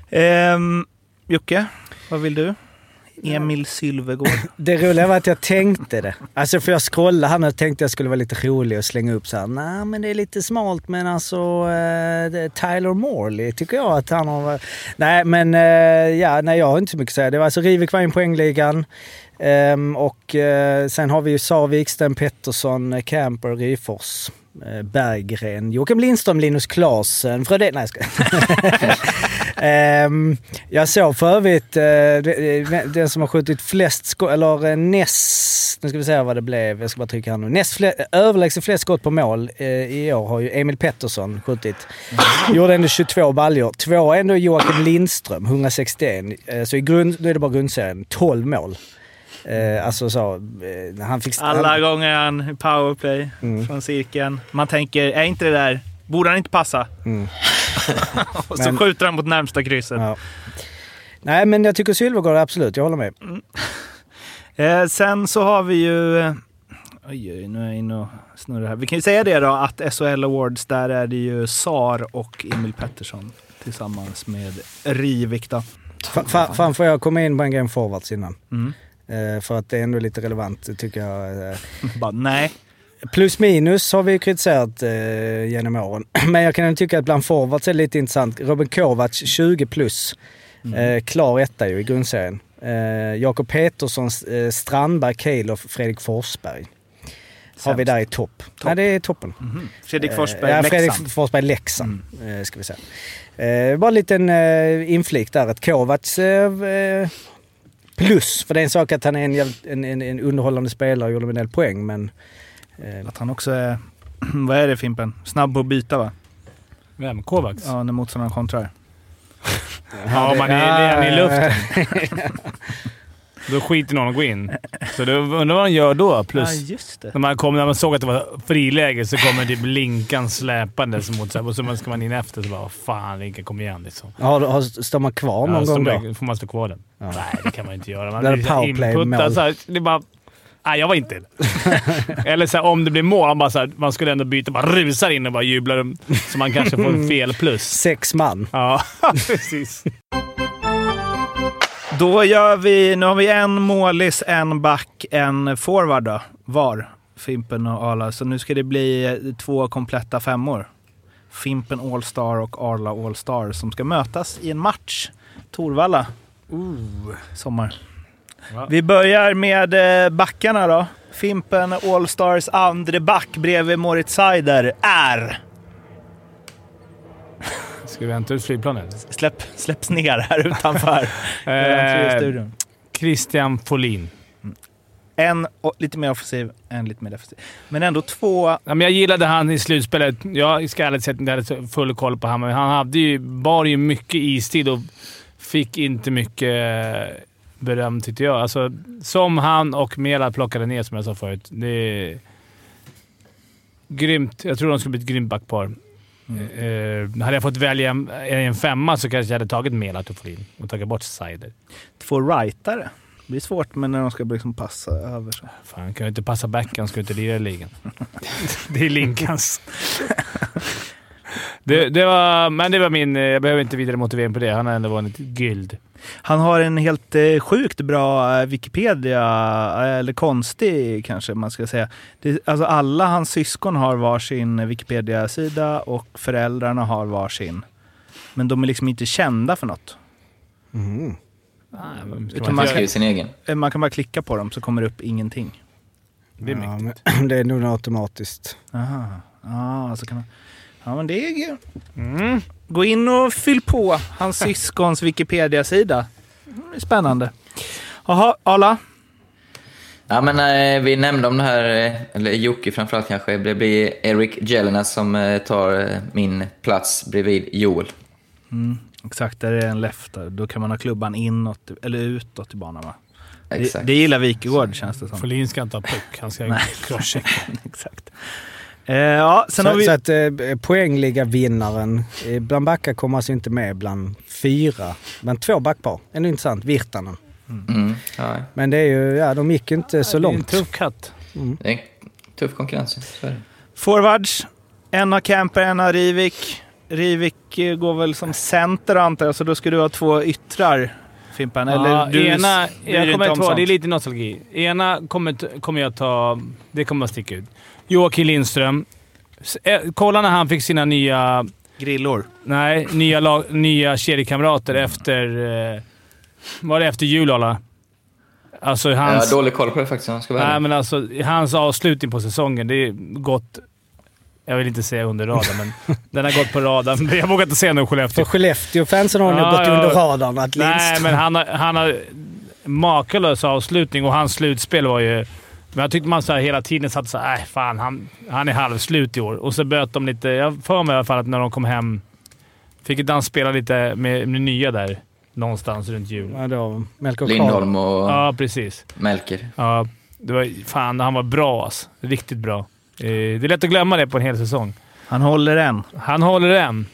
Speaker 3: Ehm, Jocke, vad vill du? Emil Sylvegård.
Speaker 2: Det roliga var att jag tänkte det. Alltså för jag scrollade här nu och tänkte jag skulle vara lite rolig och slänga upp så här. Nej men det är lite smalt men alltså eh, det- Tyler Morley tycker jag att han har varit... Nej men eh, ja, nej jag har inte så mycket att säga. Det var alltså Rivik var in i poängligan. Ehm, och eh, sen har vi ju Savik, Sten Pettersson, eh, Camper, Ryfors, eh, Berggren, Joakim Lindström, Linus Klasen, Frödén... Nej jag ska... Ehm, jag såg för övrigt eh, det- det- den som har skjutit flest skott, eller eh, näst, nu ska vi se vad det blev, jag ska bara trycka här nu. Näst fle, överlägset flest skott på mål eh, i år har ju Emil Pettersson skjutit. Gjorde ändå 22 baljor. Två är ändå Joakim Lindström, 161. Eh, så i grund, nu är det bara grundserien, 12 mål. Eh, alltså så, eh, han fick...
Speaker 3: Alla
Speaker 2: han,
Speaker 3: gånger han i powerplay från cirkeln. Man tänker, är inte det där... Borde han inte passa?
Speaker 2: Mm.
Speaker 3: och så
Speaker 2: Men-
Speaker 3: skjuter han mot närmsta krysset.
Speaker 2: ja. Nej men jag tycker Sylvegård absolut, jag håller med.
Speaker 3: Eh, sen så har vi ju... eh, Oj, oj, nu är jag inne och snurrar här. Vi kan ju säga det då att SHL Awards, där är det ju SAR och Emil Pettersson tillsammans med Rivik då.
Speaker 2: Fa- fa- Fan får jag komma in på en grej om forwards innan?
Speaker 3: Mm.
Speaker 2: Eh, För att det är ändå lite relevant tycker jag. Eh,
Speaker 3: Bara, nej.
Speaker 2: Plus minus har vi ju kritiserat eh, genom åren. Men jag kan ändå tycka att bland forwards är det lite intressant. Robin Kovacs 20 plus.
Speaker 3: Mm.
Speaker 2: Eh, klar etta ju i grundserien. Eh, Jakob Petersson, eh, Strandberg, Kejl och Fredrik Forsberg. Har vi där i topp. Nej, det är toppen.
Speaker 3: Mhm. Fredrik
Speaker 2: Eh,
Speaker 3: Forsberg,
Speaker 2: ja,
Speaker 3: Leksand. Mm.
Speaker 2: Fredrik Forsberg, Leksand. eh, Ska vi säga. Eh, bara en liten eh, inflik där. Att Kovacs eh, eh, plus, för det är en sak att han är en, jävligt- en, en, en underhållande spelare och gjorde en del poäng, men... Eh,
Speaker 3: Att han också är... Vad är det Fimpen? Snabb på att byta va?
Speaker 7: Vem? Kovacs?
Speaker 3: Ja, när motståndaren kontrar.
Speaker 7: Ja, man är, är han i luften. Då skiter någon att gå in. Så då undrar vad han gör då. Plus,
Speaker 3: just det.
Speaker 7: när, man kom, när man såg att det var friläge så kommer typ Linkan släpandes mot sig. Och så ska man in efter så bara "Vad fan Linkan, kom igen liksom.
Speaker 2: Har, har, står man kvar någon
Speaker 7: så
Speaker 2: gång då?
Speaker 7: Får man stå kvar den? Nej, det kan man inte göra. Man
Speaker 2: Det är
Speaker 7: så här
Speaker 2: powerplay,
Speaker 7: inputtad
Speaker 2: mål.
Speaker 7: så här, Det är bara... Nej, jag var inte det. Eller så här, om det blir mål, man, bara så här, man skulle ändå byta. Bara rusar in och bara jublar. Så man kanske får en fel plus.
Speaker 2: Sex man.
Speaker 7: Ja, precis.
Speaker 3: Då gör vi... Nu har vi en målis, en back, en forward då. Var. Fimpen och Arla. Så nu ska det bli eh, två kompletta femmor. Fimpen All-Star och Arla All-Star som ska mötas i en match. Torvalla. Sommar. Vi börjar med eh, backarna då. Fimpen Allstars andre back bredvid Moritz Seider är...
Speaker 7: Ska vi hämta ut flygplanet?
Speaker 3: Släpp, släpps ner här utanför.
Speaker 7: Eh,
Speaker 3: Entry i studion.
Speaker 7: Christian Folin.
Speaker 3: en o- lite mer offensiv, en lite mer defensiv. Men ändå två...
Speaker 7: Ja, men jag gillade han i slutspelet. Jag ska ärligt säga att jag inte hade full koll på honom, men han hade ju, bar ju mycket istid och fick inte mycket eh, beröm, tyckte jag. Alltså, som han och Mela plockade ner, som jag sa förut. Det är grymt. Jag tror de skulle bli ett grymt backpar.
Speaker 3: Mm.
Speaker 7: Eh, hade jag fått välja en, en femma så kanske jag hade tagit Mela och Folin och tagit bort Seider.
Speaker 3: Två rightare. Det blir svårt, men när de ska liksom passa över så.
Speaker 7: Fan, han kan ju inte passa back. Han ska ju inte lira i ligan. det är Linkans. Det, det var, men det var min... eh, Jag behöver inte vidare motivering på det. Han har ändå vunnit guld.
Speaker 3: Han har en helt eh, sjukt bra eh, Wikipedia, eh, eller konstig kanske man ska säga. Det, alltså alla hans syskon har varsin Wikipedia-sida och föräldrarna har varsin. Men de är liksom inte kända för något.
Speaker 7: Ska man
Speaker 8: Han
Speaker 7: inte göra?
Speaker 8: skriver sin egen.
Speaker 3: Eh, Man kan bara klicka på dem så kommer det upp ingenting.
Speaker 7: Det är mycket.
Speaker 2: Ja, men det är nog automatiskt.
Speaker 3: Aha. Ah, så kan man... Ja, men det är ju... Mm. Gå in och fyll på hans syskons Wikipedia-sida. Mm, det är Spännande. Jaha, Arla.
Speaker 8: Ja, men, eh, vi nämnde om det här, eh, eller Jocke framförallt kanske, det blir Eric Jelena som eh, tar eh, min plats bredvid Joel.
Speaker 3: Exakt, där är en lefter. Då kan man ha klubban inåt eller utåt i banan va? Det,
Speaker 8: Exakt.
Speaker 3: det gillar Wikegård känns det som.
Speaker 7: Folin ska inte ha puck. Han ska crosschecka.
Speaker 3: Exakt. Eh, ja, sen
Speaker 2: så,
Speaker 3: har vi...
Speaker 2: så att eh, poängliga vinnaren eh, bland backar kommer alltså inte med bland fyra. Men två backpar. Ändå intressant. Virtanen.
Speaker 8: Mm, ja,
Speaker 2: Men det är ju, ja de gick inte så
Speaker 7: Det är en
Speaker 2: långt.
Speaker 7: tuff katt.
Speaker 8: det är en tuff konkurrens. så är det.
Speaker 3: Forwards. En har Camper, en har Rivik. Rivik eh, går väl som center antar jag, så då ska du ha två yttrar Fimpen. Eller
Speaker 7: Ja,
Speaker 3: du
Speaker 7: ena,
Speaker 3: bryr dig
Speaker 7: jag kommer
Speaker 3: inte om
Speaker 7: inte vara,
Speaker 3: sånt.
Speaker 7: det är lite nostalgi. Ena kommer, t- kommer jag ta... Det kommer att sticka ut. Joakim Lindström. S- eh, Kolla när han fick sina nya
Speaker 3: grillor.
Speaker 7: Nej, nya, lag, nya kedjekamrater efter... Eh, var det efter jul, alla? Alltså
Speaker 8: Jag har
Speaker 7: hans,
Speaker 8: dålig koll på det faktiskt om jag ska vara
Speaker 7: nej,
Speaker 8: ärlig.
Speaker 7: men alltså, hans avslutning på säsongen. Det är gått... Jag vill inte säga under radarn, men den har gått på radarn. Jag vågar inte säga nu Skellefteå.
Speaker 2: För Skellefteå-fansen har nog
Speaker 7: Ja,
Speaker 2: gått
Speaker 7: ja.
Speaker 2: under radarn att
Speaker 7: Nej,
Speaker 2: Lindström...
Speaker 7: men han har, han har makalös avslutning och hans slutspel var ju... Men jag tyckte man så här hela tiden satt så här, äh, fan han, han är halvslut i år. Och så böt de lite. Jag har för mig i alla fall att när de kom hem fick inte han spela lite med, med nya där någonstans runt jul.
Speaker 2: Ja, då, Melker Karl.
Speaker 8: Lindholm och
Speaker 7: Ja, precis.
Speaker 8: Melker.
Speaker 7: Ja, det var, fan, han var bra alltså. Riktigt bra. Eh, Det är lätt att glömma det på en hel säsong.
Speaker 3: Han håller en.
Speaker 7: Han håller den.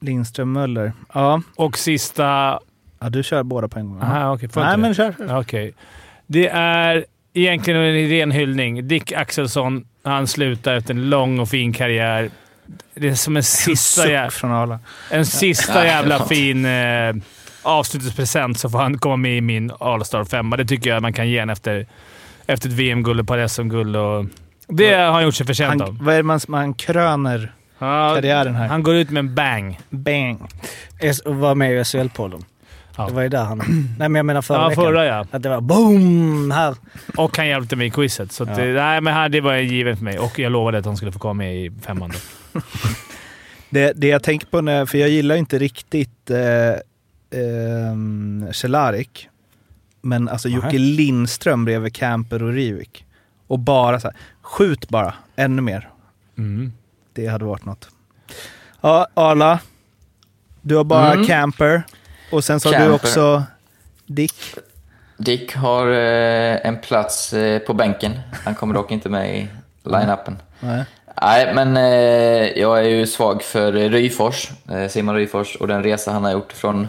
Speaker 3: Lindström Möller. Ja,
Speaker 7: Och sista...
Speaker 3: ja du kör båda på en gång.
Speaker 7: Aha, okej, får jag
Speaker 3: Nej,
Speaker 7: inte det?
Speaker 3: men kör.
Speaker 7: Okej. Det är egentligen en ren hyllning. Dick Axelsson, han slutar efter en lång och fin karriär. Det är som en sista, jä-
Speaker 3: Suck från Arla.
Speaker 7: en sista
Speaker 8: Ja.
Speaker 7: jävla fin eh, avslutningspresent så får han komma med i min All-Star 5. Det tycker jag man kan ge en efter, efter ett VM-guld, ett par SM-guld och... Det har han gjort sig förtjänt
Speaker 3: Han,
Speaker 7: av.
Speaker 3: vad är det man, man kröner
Speaker 7: Ja,
Speaker 3: karriären här?
Speaker 7: han går ut med en bang.
Speaker 3: Bang.
Speaker 2: S- Var med i SHL-podden.
Speaker 7: Ja.
Speaker 2: Det var ju där han... Nej men jag menar förra
Speaker 7: Ja,
Speaker 2: veckan.
Speaker 7: förra ja.
Speaker 2: Att det var boom här.
Speaker 7: Och han hjälpte mig i quizet. Så att, eh, nej, men här, det var given för mig och jag lovade att han skulle få komma med i femman. Då.
Speaker 3: Det, det jag tänker på, när, för jag gillar ju inte riktigt eh, ehm, Cehlárik. Men alltså Jocke Lindström bredvid Camper och Rivik. Och bara så här, skjut bara ännu mer.
Speaker 7: Mm.
Speaker 3: Det hade varit något. Ja, Arla. Du har bara
Speaker 8: Mm.
Speaker 3: Camper. Och sen så har du
Speaker 8: Camper.
Speaker 3: också Dick.
Speaker 8: Dick har eh, en plats eh, på bänken. Han kommer dock inte med i line-upen.
Speaker 3: Nej.
Speaker 8: Nej, men eh, jag är ju svag för Ryfors, eh, Simon Ryfors och den resa han har gjort från...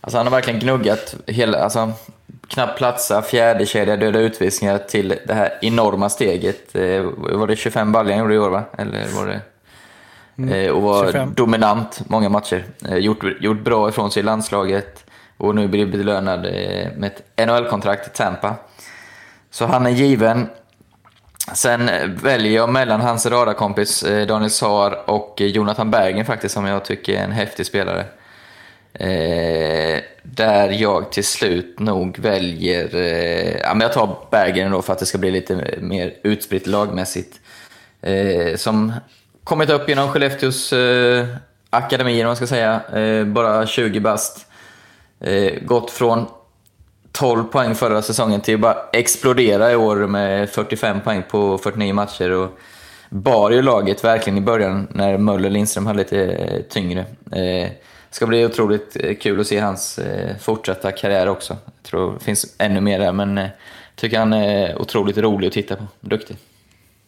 Speaker 8: Alltså han har verkligen gnuggat hela... Alltså, knappt platsa, fjärde kedja, döda utvisningar till det här enorma steget. Eh, var det 25 baljor han gjorde i år, va? Eller var det... Eh, och var
Speaker 2: 25.
Speaker 8: dominant många matcher. Eh, gjort, gjort bra ifrån sig i landslaget och nu blir belönad eh, med ett NHL-kontrakt i Tampa. Så han är given. Sen eh, väljer jag mellan hans radarkompis eh, Daniel Saar och eh, Jonathan Bergen faktiskt, som jag tycker är en häftig spelare. Eh, där jag till slut nog väljer... Eh, ja, men jag tar Berggren då för att det ska bli lite mer utspritt lagmässigt. Eh, som kommit upp genom Skellefteås eh, akademi, om man ska säga. Eh, bara 20 bast. Eh, gått från 12 poäng förra säsongen till bara explodera i år med 45 poäng på 49 matcher. Och bar ju laget verkligen i början när Möller Lindström hade lite eh, tyngre. Eh, ska bli otroligt eh, kul att se hans eh, fortsatta karriär också. Jag tror det finns ännu mer där, men eh, tycker han är otroligt rolig att titta på. Duktig.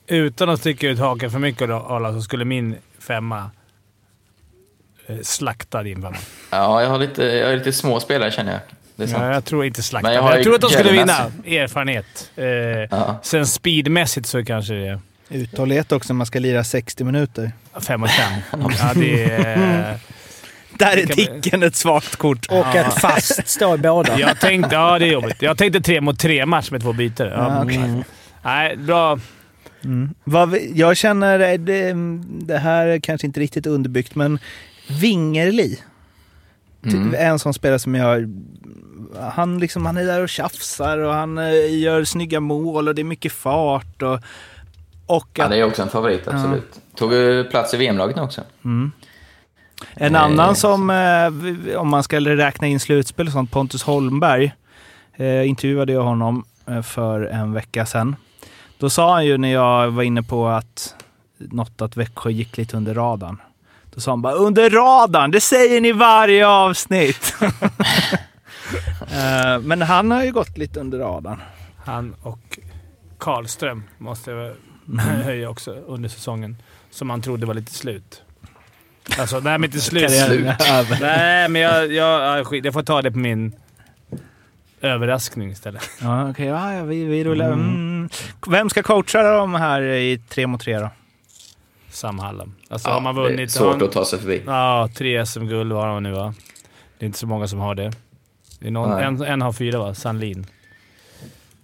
Speaker 7: Utan att sticka ut hakan för mycket, då, Arla, så skulle min femma eh, slakta din femma.
Speaker 8: Ja, jag har lite, jag har lite små spelare känner jag. Det är sant.
Speaker 7: Ja, jag tror inte slakta.
Speaker 8: Men
Speaker 7: Men
Speaker 8: jag
Speaker 7: jag,
Speaker 8: har ju
Speaker 7: tror att de skulle vinna.
Speaker 8: Gäddmässigt.
Speaker 7: Erfarenhet. Eh,
Speaker 8: Ja.
Speaker 7: Sen speedmässigt så kanske det är
Speaker 3: Uthållighet också, man ska lira 60 minuter.
Speaker 7: fem och fem. ja, det är...
Speaker 3: Där är
Speaker 7: Det kan man-
Speaker 3: Ticken ett svagt kort.
Speaker 2: Och att fast står i båda.
Speaker 7: Jag tänkte, ja, det är jobbigt. Jag tänkte tre mot tre match med två byten. Ja,
Speaker 3: Ja, okej.
Speaker 7: mm. Nej, bra.
Speaker 3: Vad vi, jag känner, eh, det, det här är kanske inte riktigt underbyggt, men Wingerli. Ty-
Speaker 8: Mm.
Speaker 3: är En sån spelare som jag... Han, liksom, han är där och tjafsar och han eh, gör snygga mål och det är mycket fart. Och, och
Speaker 8: Ja,
Speaker 3: att,
Speaker 8: det är också en favorit, absolut. Tog ju plats i VM-laget nu också.
Speaker 3: en
Speaker 8: Nej.
Speaker 3: annan som, eh, vi- om man ska räkna in slutspel och sånt, Pontus Holmberg. Eh, intervjuade jag honom eh, för en vecka sedan. Då sa han ju när jag var inne på att något att Växjö gick lite under radarn. Då sa han bara “Under radarn, det säger ni varje avsnitt!” Eh, Men han har ju gått lite under radarn.
Speaker 7: Han och Karlström måste jag höja också under säsongen, som han trodde var lite slut. Alltså, nej men inte slut.
Speaker 3: Karriären är över.
Speaker 7: Nej, men jag, jag, ja, skit. jag får ta det på min överraskning istället.
Speaker 3: Ja, okej. Ja, ja, vi, vi rullar. Mm. Vem ska coacha dem här i tre mot tre då?
Speaker 7: Sam Hallam. Alltså,
Speaker 8: Ja,
Speaker 7: har man
Speaker 8: det är
Speaker 7: vunnit... har
Speaker 8: svårt
Speaker 7: han-
Speaker 8: att ta sig förbi.
Speaker 7: Ja, tre SM-guld har han nu va? Det är inte så många som har det. det är någon,
Speaker 8: Nej.
Speaker 7: en, en har fyra va? Sandlin.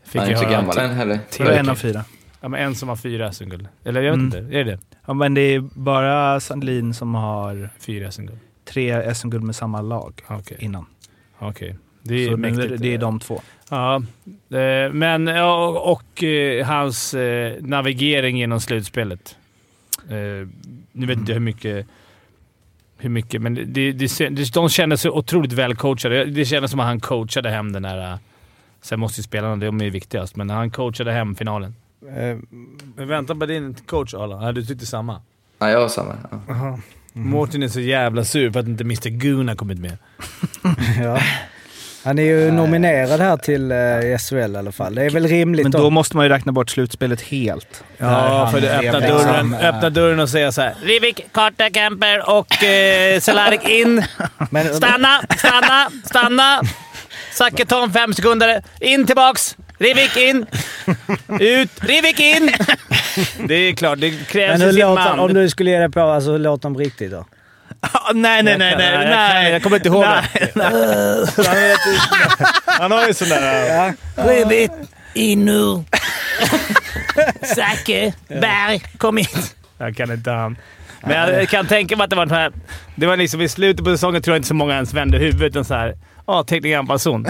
Speaker 7: Fick jag
Speaker 8: Han är inte så
Speaker 7: höra.
Speaker 8: gammal än heller.
Speaker 3: Till en av fyra.
Speaker 7: Ja, men en som har fyra SM-guld. Eller jag vet
Speaker 3: Mm.
Speaker 7: inte. Är det det
Speaker 3: Ja, men det är bara Sandlin som har
Speaker 7: Fyra SM-guld?
Speaker 3: tre SM-guld med samma lag
Speaker 7: Ja, Okej.
Speaker 3: innan.
Speaker 7: Okej. Det är
Speaker 3: Så
Speaker 7: mäktigt. eh.
Speaker 3: nu, det är de två.
Speaker 7: Ja, eh, men ja, och, och eh, hans eh, navigering genom slutspelet. Eh, Nu vet inte hur mycket, hur mycket men det, det, det, de kändes så otroligt välcoachade. Det kändes som att han coachade hem den där... eh, Sen måste ju spelarna, de är ju viktigast, men han coachade hem finalen.
Speaker 2: Eh,
Speaker 7: Men vänta på din coach, Arla. Ja, du tyckte samma.
Speaker 8: Ja, jag har samma. Ja.
Speaker 7: Mårten är så jävla sur för att inte Mr Guna kommit med.
Speaker 2: Ja. Han är ju nominerad här till eh, SHL i alla fall. Det är väl rimligt
Speaker 3: Men
Speaker 2: då.
Speaker 3: då måste man ju räkna bort slutspelet helt.
Speaker 7: Ja, för det öppnar dörren,
Speaker 3: liksom, eh,
Speaker 7: öppnar dörren och säger så här.
Speaker 1: Rivik, Karta, Kemper och eh, Cehlárik in.
Speaker 2: Men,
Speaker 1: Stanna, stanna, stanna. Zacke tar en femsekundare. In tillbaks. Rivik in. Ut. Rivik in.
Speaker 7: Det är klart, det krävs
Speaker 2: men
Speaker 7: ju
Speaker 2: hur
Speaker 7: sin
Speaker 2: låter,
Speaker 7: man.
Speaker 2: om du skulle ge dig på, alltså, hur låter de riktigt då?
Speaker 3: Ah, nej, nej, nej, nej,
Speaker 7: jag,
Speaker 3: nej.
Speaker 7: jag kommer inte ihåg det.
Speaker 3: nej, nej.
Speaker 7: Han har ju sån där...
Speaker 1: Rivik in nu. Zacke, Berg, kom in.
Speaker 7: Jag kan inte han. Men jag kan tänka mig att det var den här... Det var liksom i slutet på säsongen tror jag inte så många ens vände huvudet. Utan såhär... Ja, tekniker anpassning.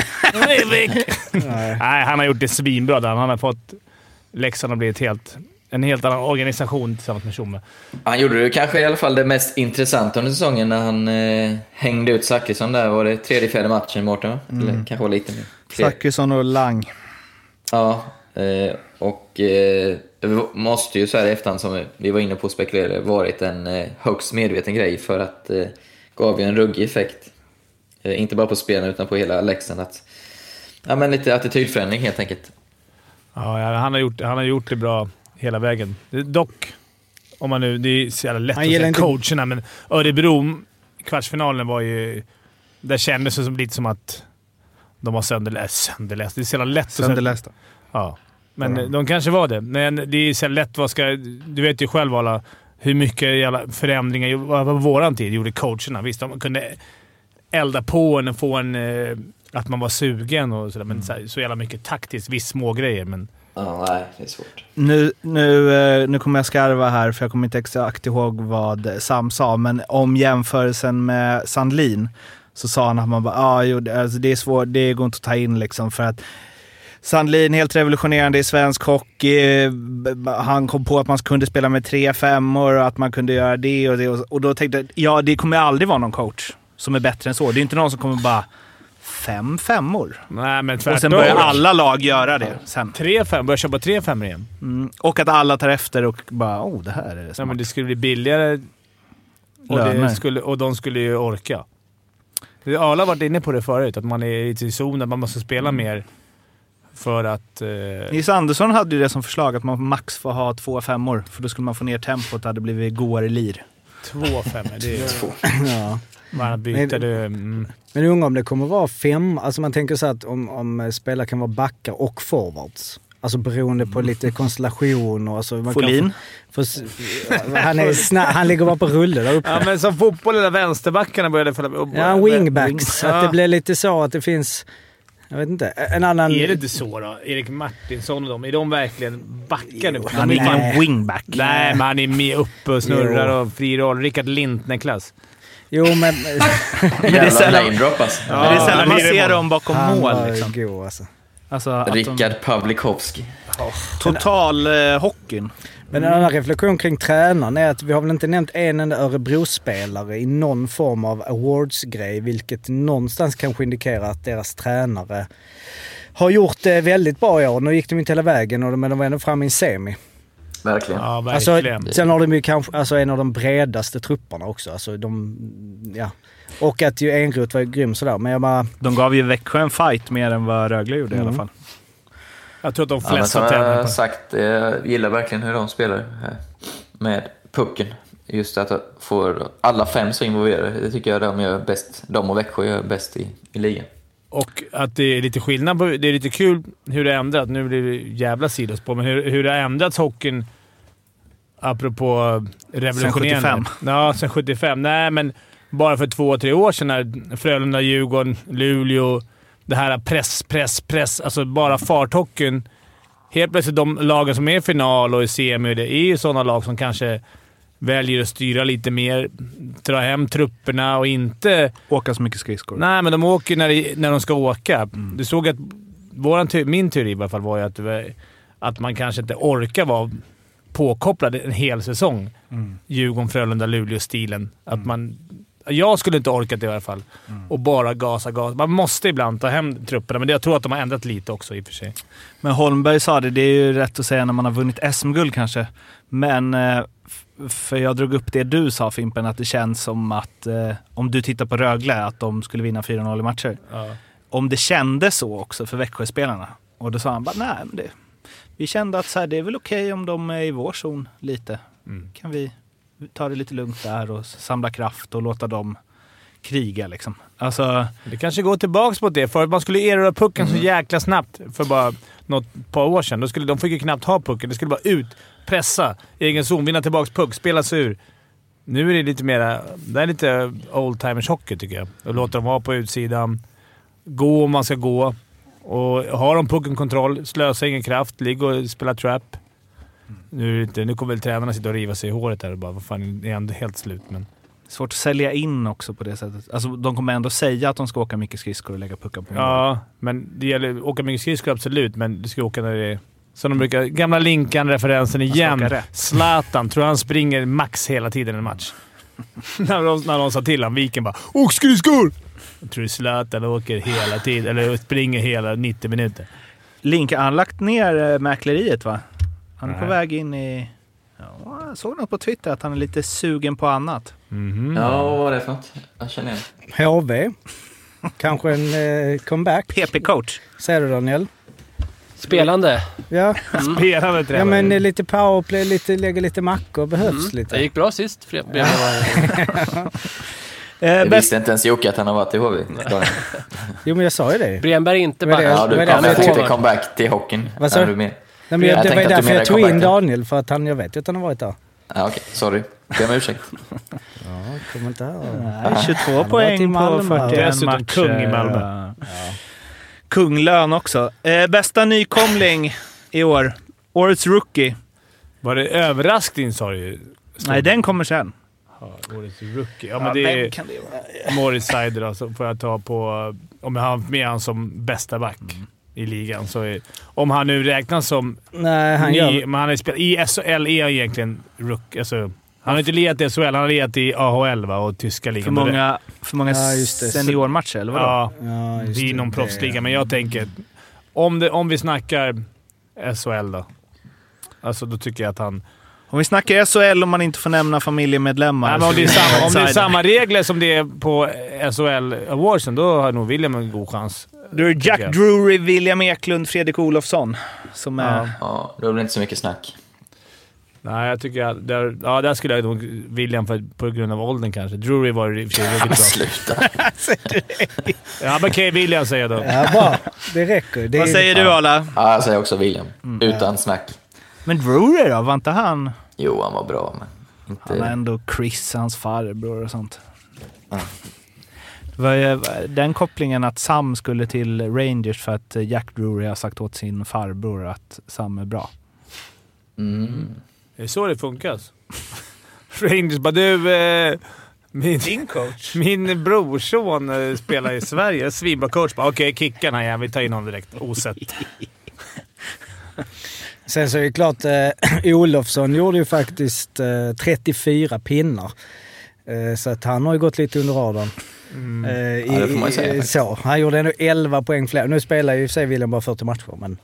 Speaker 1: Rivik.
Speaker 7: Nej, han har gjort det svinbra där. Han har fått... Leksand har blivit helt, en helt annan organisation tillsammans med Tjomme.
Speaker 8: Han gjorde det kanske i alla fall det mest intressanta under säsongen när han eh, hängde ut Zachrisson där. Var det tredje, fjärde matchen, Mårten? va? Eller kanske var lite mer. Tre-
Speaker 3: Zachrisson och Lang.
Speaker 8: Ja, eh, och eh, det måste ju så här i efterhand, som vi var inne på och spekulerade, varit en eh, högst medveten grej för att eh, gav ju en ruggig effekt. Eh, inte bara på spelarna utan på hela Leksand. Att, ja, men lite attitydförändring helt enkelt.
Speaker 7: Ja, ja, han har, gjort, han har gjort det bra hela vägen. Det- Dock, om man nu... Det är så jävla lätt
Speaker 2: Han
Speaker 7: att
Speaker 2: gillar
Speaker 7: säga
Speaker 2: inte-
Speaker 7: coacherna, men Örebro, kvartsfinalen var ju... Där kändes det som, lite som att de var sönderläst. Sönderläst? Det är så jävla lätt att säga-
Speaker 3: Sönderlästa.
Speaker 7: Ja, men de kanske var det. Men det är så lätt. Vad ska, du vet ju själv alla hur mycket jävla förändringar gjorde- vad- vad våran tid gjorde coacherna. Visst, de kunde elda på en och få en... eh, Att man var sugen och sådär,
Speaker 3: Mm.
Speaker 7: men så, här, så jävla mycket taktiskt. Visst, små grejer men...
Speaker 8: Ja, nej, det är svårt.
Speaker 3: Nu, nu, eh, nu kommer jag skarva här, för jag kommer inte exakt ihåg vad Sam sa, men om jämförelsen med Sandlin så sa han att man bara, ah, jo, det- alltså, det är svårt, det går inte att ta in liksom för att Sandlin, helt revolutionerande i svensk hockey. B- b- Han kom på att man kunde spela med tre femmor och att man kunde göra det och det. Och- Och då tänkte jag, ja det kommer aldrig vara någon coach som är bättre än så. Det är inte någon som kommer bara, fem femmor?
Speaker 7: Nej, men
Speaker 3: Och sen börjar alla lag göra det sen.
Speaker 7: Tre fem, börjar köpa tre femmor igen.
Speaker 3: Mm. Och att alla tar efter och bara oh, det här är
Speaker 7: Nej,
Speaker 3: smart.
Speaker 7: men det skulle bli billigare och,
Speaker 3: Löner.
Speaker 7: det skulle, och de skulle ju orka. Det- Arla har varit inne på det förut, att man är lite i zonen. Man måste spela
Speaker 3: Mm.
Speaker 7: mer för att... Eh,
Speaker 3: Nils Andersson hade ju det som förslag att man max får ha två femmor för då skulle man få ner tempot det hade blivit goare lir.
Speaker 7: två femmor. Det är
Speaker 8: Två.
Speaker 2: Ja.
Speaker 7: Man byter det... Mm.
Speaker 2: Men jag undrar om det kommer vara fem, alltså man tänker så att om, om eh, spelare kan vara backar och forwards. Alltså beroende på lite konstellation och så. Man kan
Speaker 3: Folin?
Speaker 2: Få, få, han, är sna, han ligger bara på rulle där uppe.
Speaker 7: Ja, men som fotbollen, där vänsterbackarna började falla... och-
Speaker 2: Ja, wingbacks.
Speaker 7: Ja.
Speaker 2: Att det blir lite så att det finns, jag vet inte, en annan...
Speaker 7: Är det inte så då? Erik Martinsson och de, är de verkligen backar nu?
Speaker 3: Han är
Speaker 2: Nej.
Speaker 3: ingen wingback.
Speaker 7: Nej, men han är med uppe och snurrar och fri roll. Rickard Lintner-klass.
Speaker 2: Jo, men...
Speaker 8: Jävla name drop alltså.
Speaker 3: Men det är sällan man
Speaker 7: det är
Speaker 3: ser
Speaker 7: det.
Speaker 3: dem bakom
Speaker 2: Han
Speaker 3: mål.
Speaker 2: var
Speaker 3: Liksom.
Speaker 2: god alltså.
Speaker 3: Alltså, att de,
Speaker 8: Rickard Pavlikovski.
Speaker 3: total eh, hockeyn.
Speaker 2: Men en annan reflektion kring tränaren är att vi har väl inte nämnt en enda Örebro-spelare i någon form av awards-grej, vilket någonstans kanske indikerar att deras tränare har gjort det väldigt bra i år. Nu gick de inte hela vägen, och de- men de var ändå framme i en semi.
Speaker 8: Verkligen.
Speaker 7: Ja,
Speaker 2: Alltså,
Speaker 7: verkligen.
Speaker 2: sen har de ju kanske alltså, en av de bredaste trupperna också. Alltså, de, ja. Och att ju Enroth var grym sådär, men jag bara...
Speaker 3: De gav ju Växjö en fight mer än vad Rögle gjorde
Speaker 2: Mm.
Speaker 3: i alla fall.
Speaker 7: jag tror att de
Speaker 8: Ja, men
Speaker 7: flesta
Speaker 8: som
Speaker 7: tävlar
Speaker 8: jag
Speaker 7: på
Speaker 8: sagt, jag gillar verkligen hur de spelar eh, med pucken. Just att få alla fem så involverade, det tycker jag de gör bäst. De och Växjö gör bäst i, i ligan.
Speaker 7: Och att det är lite skillnad på... Det är lite kul hur det har ändrats. Nu blir det jävla sidos på, men hur, hur det har ändrats hockeyn apropå revolutionerande.
Speaker 3: 75.
Speaker 7: Ja, sen 75. Nej, men bara för två, tre år sedan när Frölunda, Djurgården, Luleå... Det här press, press, press. Alltså bara farthockeyn. Helt plötsligt de lagen som är i final och i semi, det är ju sådana lag som kanske väljer att styra lite mer. Dra hem trupperna och inte...
Speaker 3: Åka så mycket skridskor.
Speaker 7: Nej, men de åker när, det- när de ska åka. Du såg att våran, te- min teori i alla fall var ju att, det var- att man kanske inte orkar vara påkopplad en hel säsong. Djurgården, Frölunda, Luleå-stilen. Att man, jag skulle inte orkat det i alla fall. Och bara gasa, gasa. Man måste ibland ta hem trupperna, men det- jag tror att de har ändrat lite också i och för sig.
Speaker 3: Men Holmberg sa det, det är ju rätt att säga när man har vunnit SM-guld kanske. Men, eh, f- för jag drog upp det du sa Fimpen, att det känns som att eh, om du tittar på Rögle, att de skulle vinna 4-0 i matcher. Om det kändes så också för Växjöspelarna. Och då sa han bara, nej men det, vi kände att så här, det är väl okej om de är i vår zon lite. Kan vi ta det lite lugnt där och samla kraft och låta dem kriga liksom. Alltså,
Speaker 7: Det kanske går tillbaka mot det. Förut man skulle erövra pucken så jäkla snabbt för bara något par år sedan. Då skulle, de fick ju knappt ha pucken. Det skulle bara ut, pressa, egen zon, vinna tillbaka puck, spela sig ur. Nu är det lite mera... Det är lite old timers hockey tycker jag. Och låta dem vara på utsidan. Gå om man ska gå. Och har de pucken kontroll, slösa ingen kraft, ligg och spela trap. Nu, är det inte, nu kommer väl tränarna sitta och riva sig i håret där och bara “Vad fan, är han helt slut?” men...
Speaker 3: Svårt att sälja in också på det sättet. Alltså, de kommer ändå säga att de ska åka mycket skridskor och lägga puckar på mål.
Speaker 10: Mm.
Speaker 7: Ja, men det gäller åka mycket skridskor absolut, men du ska åka när det är... Som de brukar... Gamla Linkan-referensen
Speaker 3: ska
Speaker 7: igen.
Speaker 3: åka rätt.
Speaker 7: Zlatan. Tror han springer max hela tiden i en match? när, de, när de sa till honom, Viken bara “Åk skridskor!” Jag tror Zlatan åker hela tiden, eller springer hela 90 minuter.
Speaker 3: Link, har han lagt ner eh, mäkleriet va? Han är på
Speaker 7: Nej.
Speaker 3: väg in i... Ja, jag såg något på Twitter att han är lite sugen på annat.
Speaker 2: Mm.
Speaker 8: Ja, vad var det för något? Jag känner igen
Speaker 2: HV? Kanske en eh, comeback?
Speaker 3: PP-coach.
Speaker 2: Säger du Daniel?
Speaker 9: Spelande.
Speaker 2: Ja.
Speaker 7: Spelande
Speaker 2: Ja
Speaker 7: tränare.
Speaker 2: men eh, lite powerplay, lite, lägga lite mackor behövs
Speaker 8: Mm.
Speaker 9: Det
Speaker 2: lite.
Speaker 9: gick bra sist. Fred-
Speaker 3: Eh,
Speaker 2: Eh,
Speaker 8: Jag
Speaker 3: bäst,
Speaker 8: visste inte ens Jocke att han har varit i HV. Bara-
Speaker 2: Jo men jag sa ju det.
Speaker 9: Bredberg är inte
Speaker 2: Vad är det?
Speaker 9: back.
Speaker 8: Ja, du
Speaker 2: Vad är det
Speaker 8: kom,
Speaker 2: för
Speaker 8: jag tänkte
Speaker 9: forward?
Speaker 8: comeback till hockeyn.
Speaker 2: Vad sa
Speaker 8: Ja,
Speaker 2: du?
Speaker 8: du? med.
Speaker 2: Nej, men jag,
Speaker 8: Jag
Speaker 2: det var ju
Speaker 8: tänkte att du
Speaker 2: därför jag
Speaker 8: menade
Speaker 2: tog in
Speaker 8: comebacken.
Speaker 2: Daniel, för att han, jag vet ju att han har varit där.
Speaker 8: Ja, okej. Sorry. Be om ursäkt.
Speaker 2: Ja, kom inte här.
Speaker 3: nej, 22
Speaker 2: varit i
Speaker 3: poäng på
Speaker 2: Malmö.
Speaker 3: 41 matcher.
Speaker 7: Dessutom kung i Malmö.
Speaker 3: Ja. Kunglön också. Eh, bästa nykomling i år. Årets rookie.
Speaker 7: Var det överraskning sa du ju.
Speaker 3: Nej, den kommer sen.
Speaker 7: Ja, årets rookie. Ja,
Speaker 10: Ja,
Speaker 7: men det
Speaker 10: vem
Speaker 7: är
Speaker 10: kan det vara?
Speaker 7: Morris Seider alltså, får jag ta på... Om jag har haft med honom som bästa back
Speaker 10: Mm.
Speaker 7: i ligan så är, Om han nu räknas som...
Speaker 2: Nej, han
Speaker 7: ny,
Speaker 2: gör-
Speaker 7: Men han är spel, I SHL är han E egentligen rook, alltså, Han har inte legat i SHL. Han har legat i AHL va, och tyska ligan.
Speaker 10: För många- för många Ja, just det. seniormatcher,
Speaker 2: eller vadå?
Speaker 7: Ja,
Speaker 2: Ja, just
Speaker 7: det är
Speaker 2: det.
Speaker 7: någon
Speaker 2: Det-
Speaker 7: proffsliga, men jag tänker... Om, det, om vi snackar SHL då. Alltså, då tycker jag att han...
Speaker 10: Om vi snackar SHL om man inte får nämna familjemedlemmar.
Speaker 7: Nej, men om,
Speaker 10: så-
Speaker 7: det är samma, om det är
Speaker 10: Outsider.
Speaker 7: samma regler som det är på SHL Awardsen, då har nog William en god chans.
Speaker 10: Du är Jack Drury, William Eklund, Fredrik Olofsson. Som är...
Speaker 7: Ja.
Speaker 8: Ja, då blir det inte så mycket snack.
Speaker 7: Nej, jag tycker att där, ja, där skulle jag nog William för, på grund av åldern kanske. Drury var ju i och för sig väldigt bra.
Speaker 8: Sluta!
Speaker 7: ja, men okej. William säger jag då.
Speaker 2: Ja, bra. Det räcker. Det är-
Speaker 10: Arla?
Speaker 8: Ja, jag säger också William. Utan snack.
Speaker 10: Men Drury då? Var inte han...
Speaker 8: Jo, han var bra, men
Speaker 10: Han är
Speaker 8: inte...
Speaker 10: ändå Chris, hans farbror och sånt. Det var ju den kopplingen att Sam skulle till Rangers för att Jack Drury har sagt åt sin farbror att Sam är bra.
Speaker 8: Mm.
Speaker 7: Det är så det funkar. alltså. Rangers bara du... Eh, min, Din coach? Min brorson eh, spelar i Sverige. Svinbra coach. Bara, Okej, kicka den här jäveln. Vi tar in honom direkt. Osett.
Speaker 2: Sen så är det klart, eh, Olofsson gjorde ju faktiskt eh, 34 pinnar. Eh, så att han har ju gått lite under radarn.
Speaker 7: Mm.
Speaker 2: Eh, i,
Speaker 8: Ja, det får man ju säga,
Speaker 2: i-
Speaker 8: faktiskt.
Speaker 2: så. Han gjorde ändå 11 poäng fler. Nu spelar ju i och för sig William bara 40 matcher, men